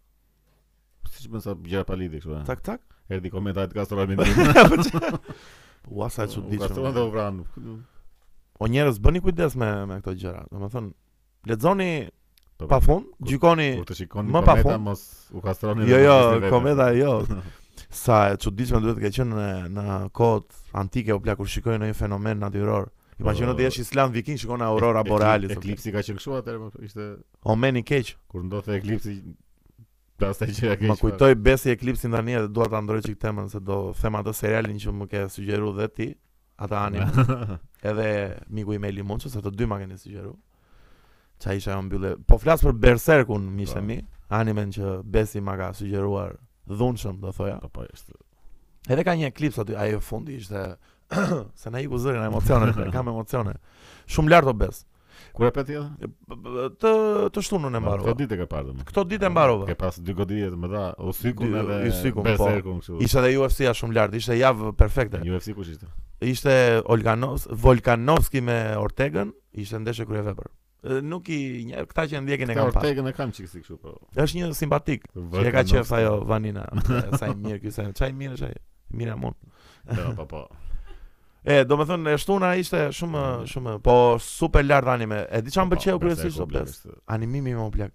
Si ç'bën sa gjëra pa lidhje kështu. eh.
Tak tak. Po
Erdi kometa e të kastrojmë.
Ua sa e
U kastron
çuditshëm.
dhe u vran.
O njerëz bëni kujdes me me këto gjëra. Domethënë lexoni
Po, po.
pafund, gjykoni
Kur të shikoni
Më pa
kometa
fund.
mos u kastroni.
Jo,
dhe mos
jo,
isni
kometa
e vetë.
jo. Sa e çuditshme duhet të ka qenë në, në kohët antike o plak kur shikojnë ndonjë fenomen natyror. Imagjino
Po,
ti jesh islam viking shikon aurora
Ekli-
borealis. o plak.
Eklipsi ka qenë kështu atëherë, po, ishte
O meni keq.
kur ndodhte eklipsi pastaj gjëra keq.
Më kujtoi Besi eklipsin tani dhe dua ta ndroj çik temën se do them atë serialin që më ke sugjeruar dhe ti, ata anim. Edhe miku i me limonçës, ato dy ma keni sugjeru. Ça isha ajo mbyllë. Po flas për Berserkun, miqtë
Po.
mi, animen që Besi ma ka sugjeruar dhunshëm, do thoja.
Po po, ishte.
Edhe ka një eklips aty, ajo fundi ishte se na iku zërin emocione, e kam emocione. Shumë lart obes.
Kur e peti? edhe?
Të të shtunën e mbarova.
Këto ditë e ke parë domun.
Këto ditë e mbarova.
Po, Ke pas dy godije të mëdha, u sikun
Dy-
edhe
i sikun, po.
Berserkun kështu.
Ishte edhe UFC-a shumë lart, ishte javë perfekte.
UFC kush ishte?
Ishte Olganos, Volkanovski me Ortegën, ishte ndeshje kryevepër. E, Nuk i nje, këta që e ndjekin e
Ka
kanë parë.
Ortegën e kam çik si kështu po.
Është një simpatik. Që e ka qef ajo Vanina. Sa i mirë ky, sa i mirë është ai. Mira mund.
Jo, po po.
E, do me thënë, e shtuna ishte shumë, shumë, po super lart anime. E di që më
Po,
pëlqeu
Berserku,
kryesisht o
bler,
bes.
ishte-
Animimi më plak.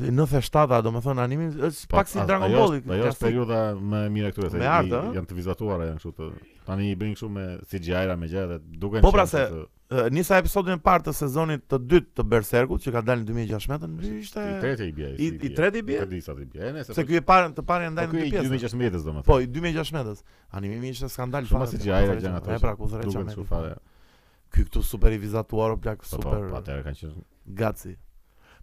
97-a, do me thënë, animi, është
Po,
pak si
a-
Dragon
ajo
Ball,
është- Ajo është periudha më e mirë këtu se
Me
i-
art, ë?
janë të vizatuar janë kështu të tani i bëjnë kështu me CGI-ra me gjëra dhe duken
Po, pra
qenë
se-
kështu të-
Nisa episodin e parë të sezonit të dytë të Berserkut, që ka dalë në 2016-ën, ishte...
i tretë i bie.
I, i treti bje?
Nuk e di sa ti bie. e, Nëse
Se ky e parën të
Po
parën ndajnë
ky
në
i
dy pjesë.
2016-s domethënë.
Po, i 2016-s. Animimi ishte skandal
Shumë
fare,
si
ku
gjajra
threqa-
gjën ato.
E pra, ku threqa
duken
me
kështu
ti.
fare.
Ky këtu super i vizatuar, o plak,
Po, po, po,
super
atëherë kanë qenë.
gaci.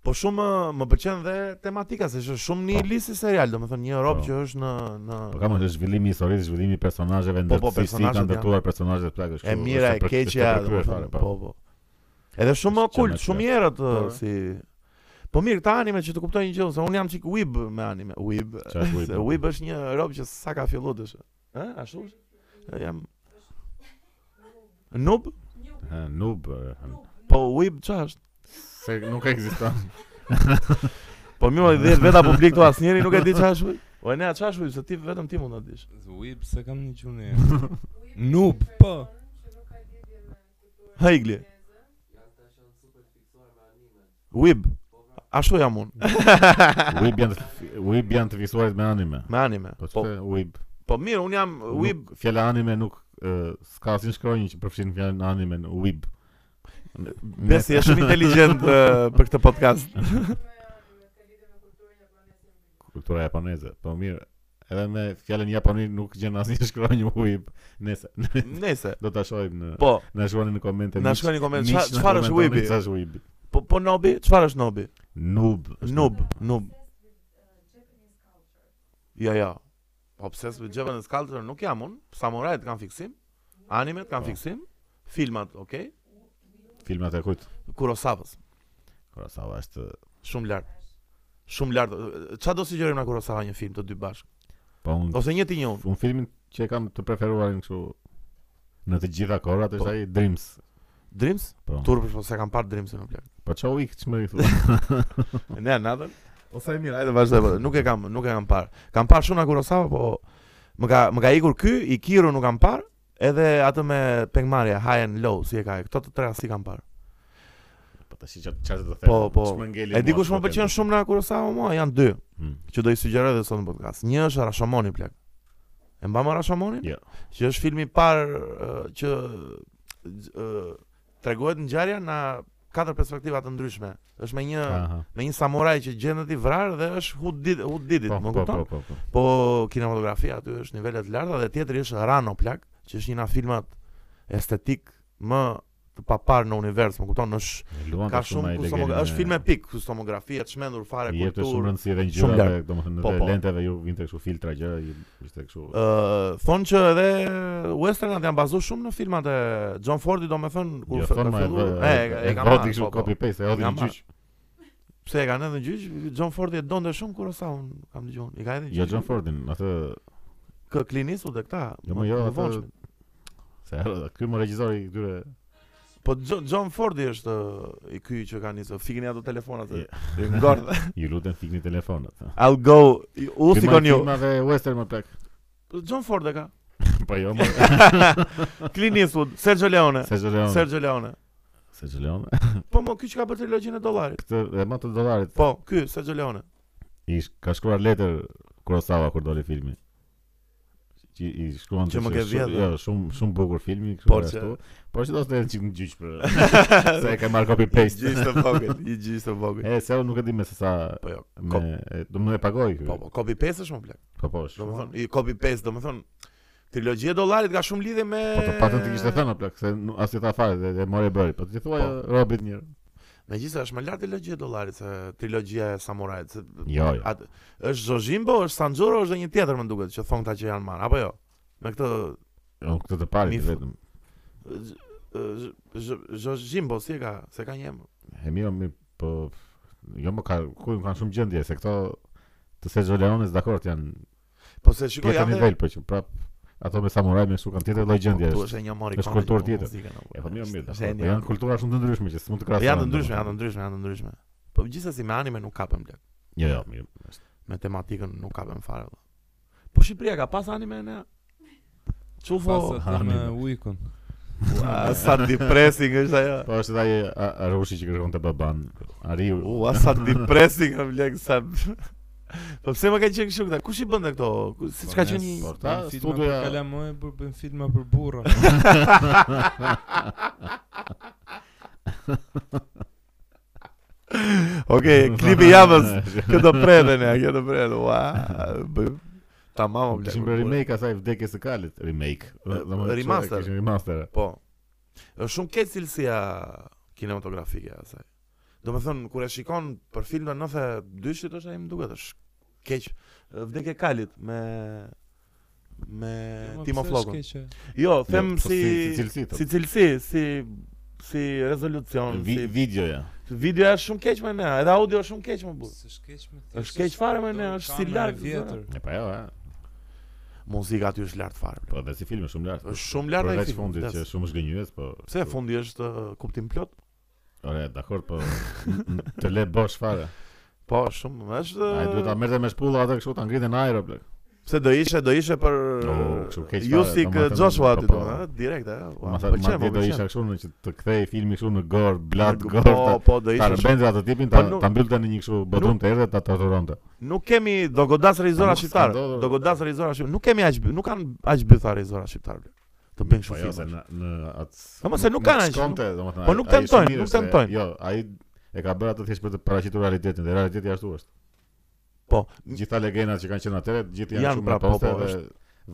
Po shumë ë, më pëlqen dhe tematika se është shumë një lisi serial, domethënë një rob
Po.
që është në në
Po kam është zhvillimi i historisë, zhvillimi i personazheve,
Po, po,
ndër si kanë
personazhet janë-
ndërtuar personazhet plagë kështu.
e mira
është
e
për-
keqja,
është për kryer fare,
domethënë. Po, po. Edhe shumë
Është
kult,
gjatë
shumë
atyre.
herët ë,
Po.
si Po mirë, këta anime që të kuptoj një gjë, se un jam çik wib me anime, wib.
Qa është
Se
Weeb?
wib është një rob që sa ka filluar dish. Ë, ashtu është? E, Jam Noob?
Ha, noob. e,
Po wib çfarë është?
Se nuk ekziston.
Po mirë, 10 veta publik këtu asnjëri nuk e di çfarë është. wib. O e nea çfarë është wib, se ti vetëm ti mund ta dish.
Whip se kam një gjuni. Noob, po.
Ha igli. Wib. Ashtu jam unë.
Weeb janë të fi- Weeb janë të fiksuarit me anime.
Me anime.
Po
Po,
çfarë Weeb?
po mirë, unë jam
Nuk-
wib.
Fjala anime nuk e, s'ka asnjë shkronjë që përfshin fjalën anime në Weeb.
Besi është shumë inteligjent ë, për këtë podcast.
kultura japoneze. Po mirë, edhe me fjalën japonisht nuk gjen asnjë shkronjë Weeb. Nëse
Nëse.
do ta shohim në
Po,
na shkruani në komente.
na
miq.
shkoni koment
Miq,
qa-
na
çfarë është
komentoni
wibi?
Çfarë është Weeb?
Po po nobi, çfarë është nobi?
Noob. është
Noob, noob. Jo, jo. Obses with Japanese culture nuk jam unë. Samurajt kanë fiksim, animet kanë
Po.
fiksim, filmat, okay?
Filmat e kujt?
Kurosawës.
Kurosawa është
Shumë lart. Shumë lart. Çfarë do sugjerojmë na Kurosawa një film të dy bashkë?
po unë
Ose një ti një unë.
un filmin që e kam të preferuarin kështu në të gjitha kohrat
Po.
është ai Dreams.
Dreams?
Po.
Turp po se kam parë Dreams në plak.
Po çau i çmë i thua.
Ne natën. Ose e mirë, hajde vazhdo. po. Nuk e kam, nuk e kam parë. Kam parë shumë na Kurosawa, po më ka më ka ikur ky, Ikiru nuk kam parë Edhe atë me pengmarja, high and low, si e ka. Këto të treja si kam parë.
Po tash çfarë çfarë do të them.
Po, po.
Ç'më ngeli
E di
mua,
kush më
s'më
pëlqen
ngeli.
shumë në Hmm. Kurosawa mua, janë dy,
Mm.
që do i sugjeroj edhe sot në podcast. Një është Rashomoni plak. E mbam Rashomonin?
Jo.
Që është filmi i parë ë, që ë, tregohet ngjarja në katër perspektiva të ndryshme. Është me një
Aha.
me një samuraj që gjendet i vrarë dhe është who did who did it,
Po,
më
po,
kupton?
po, po, po.
Po kinematografia aty është nivele të larta dhe tjetri është Rano plak, që është një nga filmat estetik më të papar në univers, më kupton? Është
Luan
ka shumë kustomografi, është film epik, kustomografi e çmendur fare
Jep të shumë
kulturë.
rëndësi edhe
shumë
ngjyrave,
larg.
domethënë
Po,
edhe
po.
lenteve ju vinte kështu filtra gjëra, ju ishte kështu.
Ë, thonë që edhe westernat janë bazuar shumë në filmat e John Fordi, domethënë kur
Jo,
fe-
thonë ma
ka
e
filluar,
vë-
e
e
e ka
vodi
marrë.
kështu
po, po.
copy paste, e hodhi
Nga
në
marrë.
gjyq.
Pse e kanë edhe në gjyq? John Fordi e donte shumë Kurosawa, kam dëgjuar. I ka edhe në
Jo
gjyq.
John Fordin, atë
Kë klinisu dhe këta.
Jo,
më
më jo,
të
atë-
devotshmit.
se erdhi- ky më regjizori këtyre
Po Jo- John Fordi është ë, i ky që ka nisur. Fikni ato telefonat.
Je.
e- e Ngordh.
ju lutem fikni telefonat.
I'll go. U
Ky
sikon
marr
ju.
Filmave western më plak.
John Ford e ka.
Po jo më.
Clint Eastwood, Sergio Leone.
Sergio Leone.
Sergio Leone.
Sergio Leone.
Po mo, ky që ka bërë trilogjinë e dollarit.
Këtë e më të dollarit.
Po, ky Sergio Leone.
I sh- ka shkruar letër Kurosawa kur doli filmi. Që i shkruan
Që më
se
ke
shumë-
vjedhë.
Jo, shumë shumë bukur filmi, kështu
Por
dhe
që-
ashtu. Por që do të jetë çik në gjyq për se e ka marrë copy paste.
I gjysë të vogël, i gjysë të vogël.
E se unë nuk e di me se sa
Po jo.
me
Kop,
e, do më e pagoj ky.
po, po, copy paste është më plak.
Po po. shumë.
Domethën, i copy paste, domethën trilogjia e dollarit ka shumë lidhje me
Po të patën të kishte thënë o plak se nu- as i tha fare dhe, dhe mori bëri. Po ti thua
Po.
Robit një.
Megjithëse është më lart trilogjia e dollarit se trilogjia e samurajit. Se...
Jo, jo.
Atë është Zhojimbo, është Sanjuro, është dhe një tjetër më duket që thon këta që janë marr, apo jo? Me këtë
Unë këtë të parit
Mif-
vetëm.
ë, Zh- Zh- Zhojimbo si e ka, se ka një emër.
E mirë, mirë, po jo më ka ku kanë shumë gjendje se këto të Sergio Leones dakord janë
Po se shikoj
tjetër
janë
nivel po që prap ato me samuraj me su kanë tjetër lloj gjendje.
Këtu është Po, një mori.
Është kulturë tjetër. E po mirë mirë. dakord, po Janë kultura shumë të ndryshme që s'mund të krahasohen.
Janë të ndryshme, janë të
domethënë.
ndryshme, janë të ndryshme. Po gjithsesi me anime nuk kapem blek.
Jo, jo, mirë. është.
Me tematikën nuk kapem fare. valla. Po Shqipëria ka pas anime në
Pas
Çufo,
ha,
atë me
mirë.
Uikun.
ua, sa depressing është ajo.
Po është edhe ai a- Arushi që kërkon të baban. Ariu.
Ua, sa depressing është blek sa. Po pse më ka qenë kështu këta? Kush i bën këto? Ku- Si ka qenë një
po, ta
Bën filma
studioja-
për Kalamoe, bur- bën filma për burra.
Po.
Okej, klipi i javës. Kjo do preten ja, kjo do preten. Ua. bë- Tamam o blek.
Kishin
më
bërë
bërë.
remake asaj vdekjes së kalit, remake. Domethënë,
remaster.
Kishin remaster.
Po. Është shumë keq cilësia kinematografike e asaj. Do me thënë, kur e shikon për filmën 92-shit është ai më duket është keq vdekje kalit me me
Po,
Timo
pse
Flokun.
është keqe?
Jo, them
po,
si
si- si cilësi, thotë.
si cilësi, si si rezolucion,
Vi,
si
video ja.
video është shumë keq më ne, edhe audio është shumë keq më burr.
S'është keq me ti.
Është keq fare me ne, është si larg
vjetër.
E pa jo, e.
Muzika aty është lart fare. bla.
Po dhe si film është shumë lart.
Është shumë lart ai
Përveç
filmi.
fundit që
blas.
është shumë zgënjyes, po.
Pse fundi është uh, kuptim plot?
Ore, dakor, po n- n- të le bosh fare.
Po, shumë, është
Ai duhet ta merrte me shpulla atë kështu ta ngritin në ajër, blek.
Pse do ishe, do ishe për
Jo, kështu keq fare,
Jusik
do më thënë,
Joshua
po,
aty
po.
do, ha, direkt, ha. Ua,
Ma
më
tha,
Po,
ma
pëlqen, më
ti do
pëlqen.
isha kështu në që të kthej filmi kështu në gor, blat, gor,
Po,
ta
po, do
ta
ishe. shumë.
rëbente atë tipin,
Po,
ta
nuk-
ta mbyllte në një kështu bodrum të erdhe ta torturonte.
Nuk kemi do godas rizora
Nuk s'ka
shqiptar.
ndodhur.
Do godas rizora shqiptar. Nuk kemi aq, nuk kanë aq bytha rizora shqiptar. bler. Të bëjnë
Po
kështu
jo, se
filma.
në në atë.
Po, mos se nuk kanë aq,
Shkonte, domethënë.
po
ai-
nuk
ai është
tentojnë,
mirë
nuk
se-
tentojnë.
Jo, ai e ka bërë atë thjesht për të paraqitur realitetin, dhe realiteti ashtu është.
Po,
Gjitha legendat që kanë qenë atëherë, gjithë janë,
Janë
shumë
prapë,
në poste
po, po,
dhe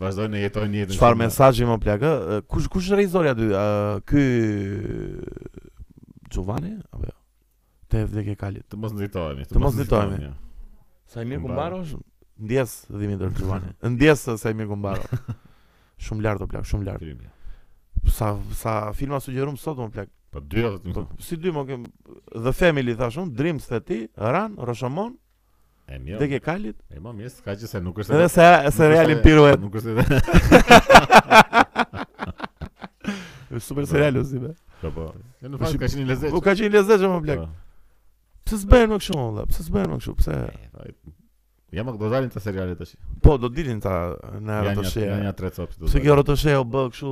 vazhdojnë të jetojnë një jetën.
çfarë
shumë-
mesazhi më plak, ë? Kush kush është rizori aty? Ë, Ky Giovanni apo jo? Te vdekje kalit.
Të mos nditohemi,
Të mos nditohemi.
jo.
Sajmir
Kumbaro.
Kumbaro është ndjes Dimitar Giovanni. Ndjes ë, Sajmir Kumbaro. Shumë lart o plak, shumë lart.
Filmi.
sa sa filma sugjerum sot më plak.
Po dy ato të
Po, si dy më kem The Family thash unë, Dreams the ti, Ran, Rashomon,
E mirë.
Tek e Kalit.
E më mirë, s'ka që se nuk është.
Edhe se se
nuk
Real
është-
Impiro e
Nuk është edhe.
super serial si be.
Po po. E në
Po,
fakt
shi-
ka qenë i lezetshëm.
U ka qenë lezetshëm më plak.
Po.
Pse s'bën më kështu më valla? Pse s'bën më kështu? Pse
Ai Ja më do dalin ta serialet tash.
Po, do dilin ta në
Ja një
rotoshe.
ja një tre copë do.
Pse
dalin.
kjo rotoshe u bë kështu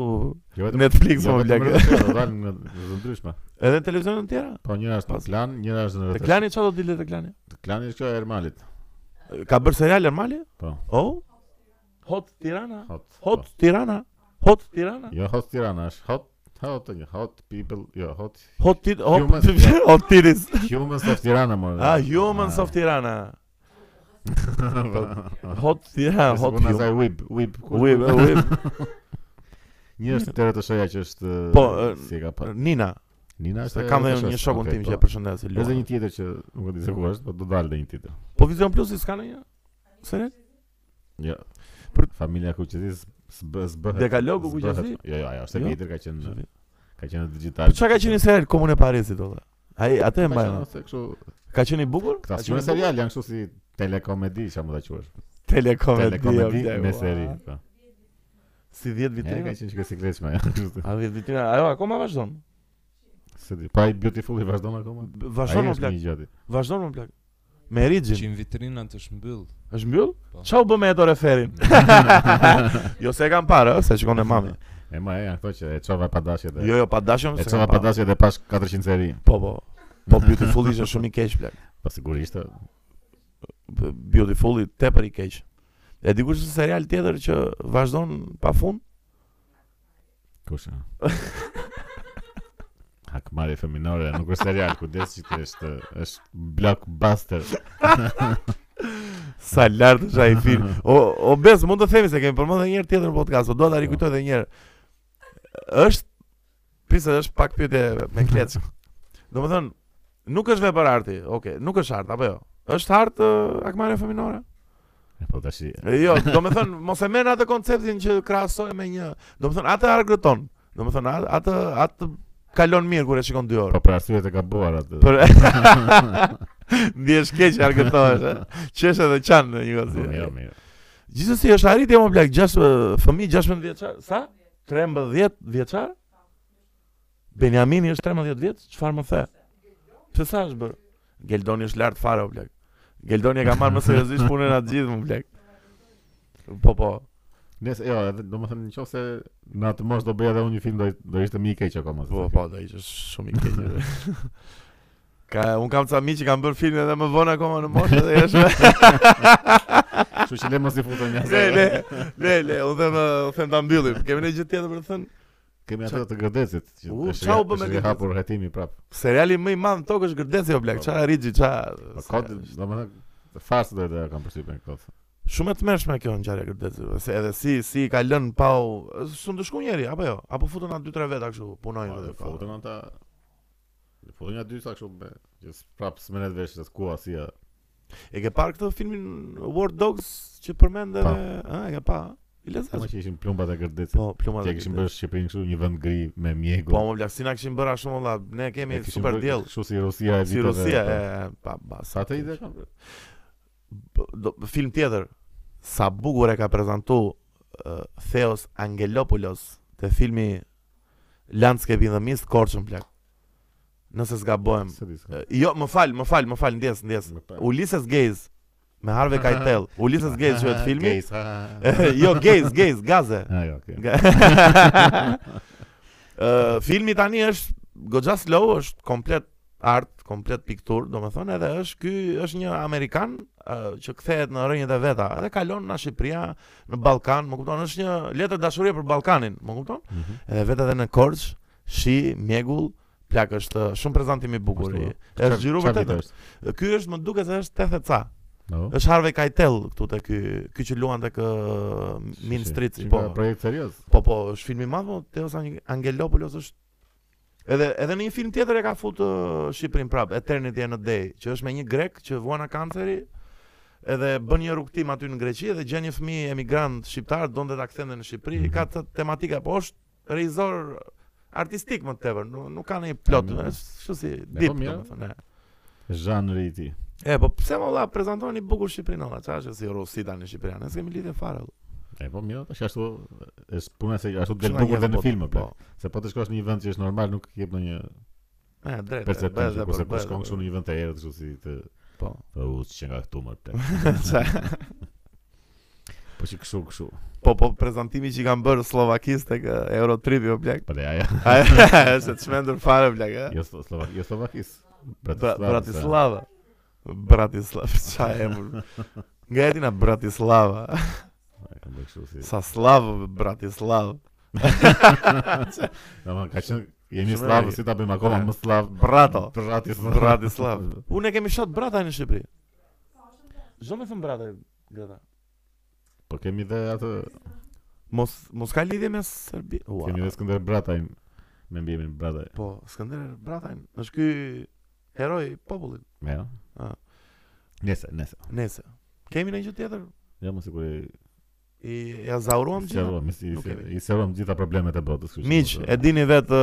Jo vetëm
Netflix
jo
më
vetëm
blaq.
rrotoshe, Do dalin në në të ndryshme.
Edhe në televizionet të tjera.
Po njëra është në
Pas-
klan, njëra është në
Te
rrotoshe.
klani çfarë do dilet te klani?
Te klani është kjo e Ermalit.
Ka bërë serial Ermali?
Po.
Oh. Hot Tirana.
Hot.
Hot Tirana. Hot Tirana.
po. Jo hot Tirana, është hot hot hot people, jo hot
Hot tit hot,
Humans.
hot tiris.
Po. humans of Tirana më.
Ah, Humans of Tirana.
Po.
Hot Tirana, hot
Tirana.
Humans.
Wib, wib. ku-
Ui, ui,
Një është të rrotosheja që është
Po,
eh,
eh,
si e ka pa.
Nina,
Nina është.
se
e
kam dhe unë
rrotoshes,
një shokun
okay,
tim që e
po.
përshëndes. si
Është dhe
luan.
një tjetër që nuk e di se ku është, po do dalë dhe një tjetër.
Po Vision Plusi s'ka ndonjë? Serial?
Jo.
Për-
Familja Kuqezis s'bë- s'bëhet.
Dekalogu
s'bëhet.
Kuqezi?
Jo, jo, ajo është
Jo?
e vjetër ka qenë
Po
ka qenë digital.
çka ka qenë serial Komun e Parisit olla? Ai atë e
Ka
mbaj.
qenë ose kështu
Ka qenë i bukur?
Këta
Ka
si
qenë i
serial janë kështu si telekomedi, çfarë mund ta quash.
bukur? Telekomedi.
Telekomedi
Po, o,
me
ua.
seri. po.
Si 10
Ja, ka
vitrina.
qenë që ke sikletshme. ja, kështu.
A 10 vitrina, ajo akoma vazhdon.
Se di, pa i beautiful i vazhdon akoma.
B- Vazhdon
Ai
më
është
plak.
një gjati.
Vazhdon më plak. Me Rigjin.
Qim vitrinat është mbyll.
Është mbyll?
Po.
Qa u bë me Edo Referin? jo se e kam parë, ë, se shikon e mami.
E ma e ato që e çova pa dashje dhe.
Jo, jo, pa dashëm
E
se
çova
kam
pa
parë.
dashje dhe pash 400 seri.
Po, po. Po Beautiful ishte shumë i keq plak.
Po sigurisht. e,
B- Beautiful i tepër i keq. E dikush është serial tjetër që vazhdon pa fund?
Kush? e? Hakmarrje feminore, nuk është serial, kujdes që është është blockbuster.
Sa lart është ai film. O o bes mund të themi se kemi përmendur një herë tjetër në podcast, po dua ta rikujtoj edhe një herë. Është pse është pak pyetje me kleç. Domethënë, nuk është vepër arti. Okej, nuk është art apo jo? Është art ë, akmare feminore?
E, Po tash i-
E, Jo, do me thënë, mos e merë atë konceptin që krahasoj me një Do me thënë, atë argrëton Do me thënë, atë, atë, atë kalon mirë kur e shikon 2
po
orë
për arsye të gabuar atë.
Për... Ndjesh keq argëtohesh, ë? Qesh edhe qanë në një
Po,
gazi
Jo, mirë.
Gjithsesi është arritje më blak, 6 fëmijë 16 vjeçar, sa? 13 vjeçar? Benjamini është 13 vjeç, çfarë më the? Pse sa është bër? Geldoni është lart fare o blak. Geldoni e ka marrë më seriozisht punën atë gjithë më blak. Po po.
Nëse jo, edhe domethënë nëse në atë moshë do bëja edhe unë një film do do ishte më i keq akoma. se
Po
sa
po, do ishte shumë i keq. edhe. Ka, un kam ca miq që kanë bërë filmin edhe më vonë akoma në moshë dhe është
kjo. Kështu që le mos i futën
le
jashtë.
le le le, u them u them ta mbyllim. Kemi ne gjë tjetër për të thënë?
Kemi atë të gërdecit. që
U,
është-
çau bë me
është i
gërdecin?
hapur hetimi prap.
Seriali më i madh në tokë është Gërdeci o blak.
Po.
Çfarë Rigji,
Po
çfarë.
kod, domethënë fast do të kam përshtypjen kot.
Shumë e tmerrshme kjo ngjarje Gërdeci. Se edhe si si ka lënë pa u s'u ndeshku njëri apo jo? Apo futën atë 2-3 veta kështu, punojnë
Po
edhe pa.
futën ata. Le futën ja dy sa kështu be. Që s- prap smenet vesh as ku asia.
E ke parë këtë filmin War Dogs që përmend
Pa.
edhe, ë, e ke pa? I
Sa
lezet.
që ishin plumbat e gërdecit.
Po, pluma.
Që e kishin bërë Shqipërinë kështu një vend gri me mjegull.
Po, më blaq, si na kishin bërë ashtu më valla, ne
E
kemi
kishin
super
bërë
diell.
Kështu si Rusia e
Si
viteve,
Rusia
po.
e pa pa
Sa të ide kam?
b- do, film tjetër sa bukur e ka prezantu uh, Theos Angelopoulos te filmi Landscape in the Mist Korçën plak. Nëse zgabojm.
Se di. s'ka.
Uh, jo, më fal, më fal, më fal, ndjes, ndjes.
Më pa-
Ulysses Gaze me Harvey Keitel. Ulysses Gaze quhet filmi.
Gaze, ha.
jo, Gaze, Gaze, Gaze.
Ah, jo, okay.
Nga- Ë, filmi tani është goxha slow, është komplet art, komplet piktur, domethënë edhe është ky është një amerikan ë, që kthehet në rrënjët e veta, edhe kalon në Shqipëria, në Ballkan, më kupton, është një letër dashurie për Ballkanin, më kupton?
Mhm.
Edhe vetë edhe në Korçë, shi, mjegull, plak është ë, shumë prezentim i bukur.
Ashtu,
i-
Çfarë-
Është xhiru
çfarë
vërtet.
vite
ë.
është?
Ky është më duket se është 80 ca.
No.
Është Harvey Keitel këtu te ky, ky që luan tek ë, Mean
Shi-
Streets,
shi
po.
nga projekt serioz.
Po po, është film i madh, po Teos Ang- Angelopoulos është Edhe edhe në një film tjetër e ka futë uh, Shqipërin prap, Eternity and a Day, që është me një grek që vuan kanceri, edhe bën një rrugtim aty në Greqi dhe gjen një fëmijë emigrant shqiptar, donte ta kthente në Shqipëri,
Mhm.
ka të tematika, po është regjisor artistik më tepër, nuk, nuk ka ndonjë plot,
mirë.
është kështu si dip,
Mm. po mirë.
domethënë. e.
Zhanri i tij.
E, po pse më valla prezantojnë i bukur Shqipërinë, valla, çfarë është si Rusi tani në Shqipëri, ne s'kemi lidhje fare. valla.
E po mirë, tash ashtu është puna se ashtu del
Kështu na
bukur
jep
dhe në
botë,
filma, po.
po.
Se po të shkosh në një vend që është normal, nuk jep ndonjë
E, drejt. e,
perceptim
bëhet
që
dhe
kurse
për-
po
bëhet
shkon
dhe
kështu
për-
në një vend të errët, kështu si të
po.
Po u që nga këtu më plek. Po që këshu, këshu.
po, po prezantimi që i kanë bërë Slovakis tek eh, Eurotripi o plak.
Po dhe aja.
Ai është të çmendur fare plak, ë.
Jo Slo- Slova- jo Slovakis.
Bra-
Bratislava.
Bratislava. Bratislava, qa e mërë Nga jetina Bratislava
Ai, Kam bërë kështu si.
Sa slavë, Bratislava
Na ma ka qenë jemi
Shumë
slavë
e-
si ta bëjmë akoma
e.
më slavë.
Brato.
Bratislava.
Bratislava Unë e kemi shot brata në Shqipëri Zdo me thëmë brata, grata
Po kemi dhe atë,
Mos, mos ka lidhje me Serbi Ua
kemi dhe Skënder Bratajn me mbjemin Brataj.
Po, Skënder Bratajn është ky heroj i popullit
Me jo?
Ah.
Nese, nese.
Nese Kemi në një gjë tjetër
Ja më sigur i
I ja zauruam gjitha
sqaruam, i-
Nuk kemi.
i- i sqaruam gjitha problemet e botës. kështu që
Miq,
mos-
e dini vetë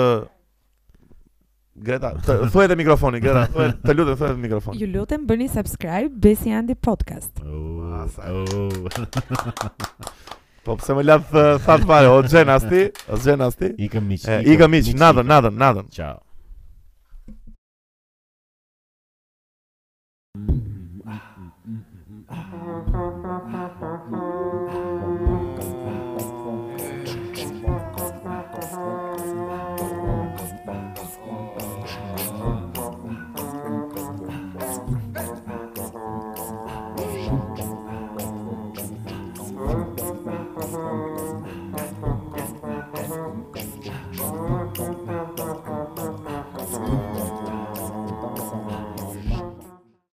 Greta, të- thuaj te mikrofoni, Greta, thuaj, të lutem thuaj te mikrofoni.
Ju lutem bëni subscribe Besi Andi Podcast.
Oh,
Masa.
oh.
Po pse më lath thatë fare, o gjen as ti, o gjen as ti.
Ikëm miq.
E, Ikëm miq, natën, natën, natën.
Ciao.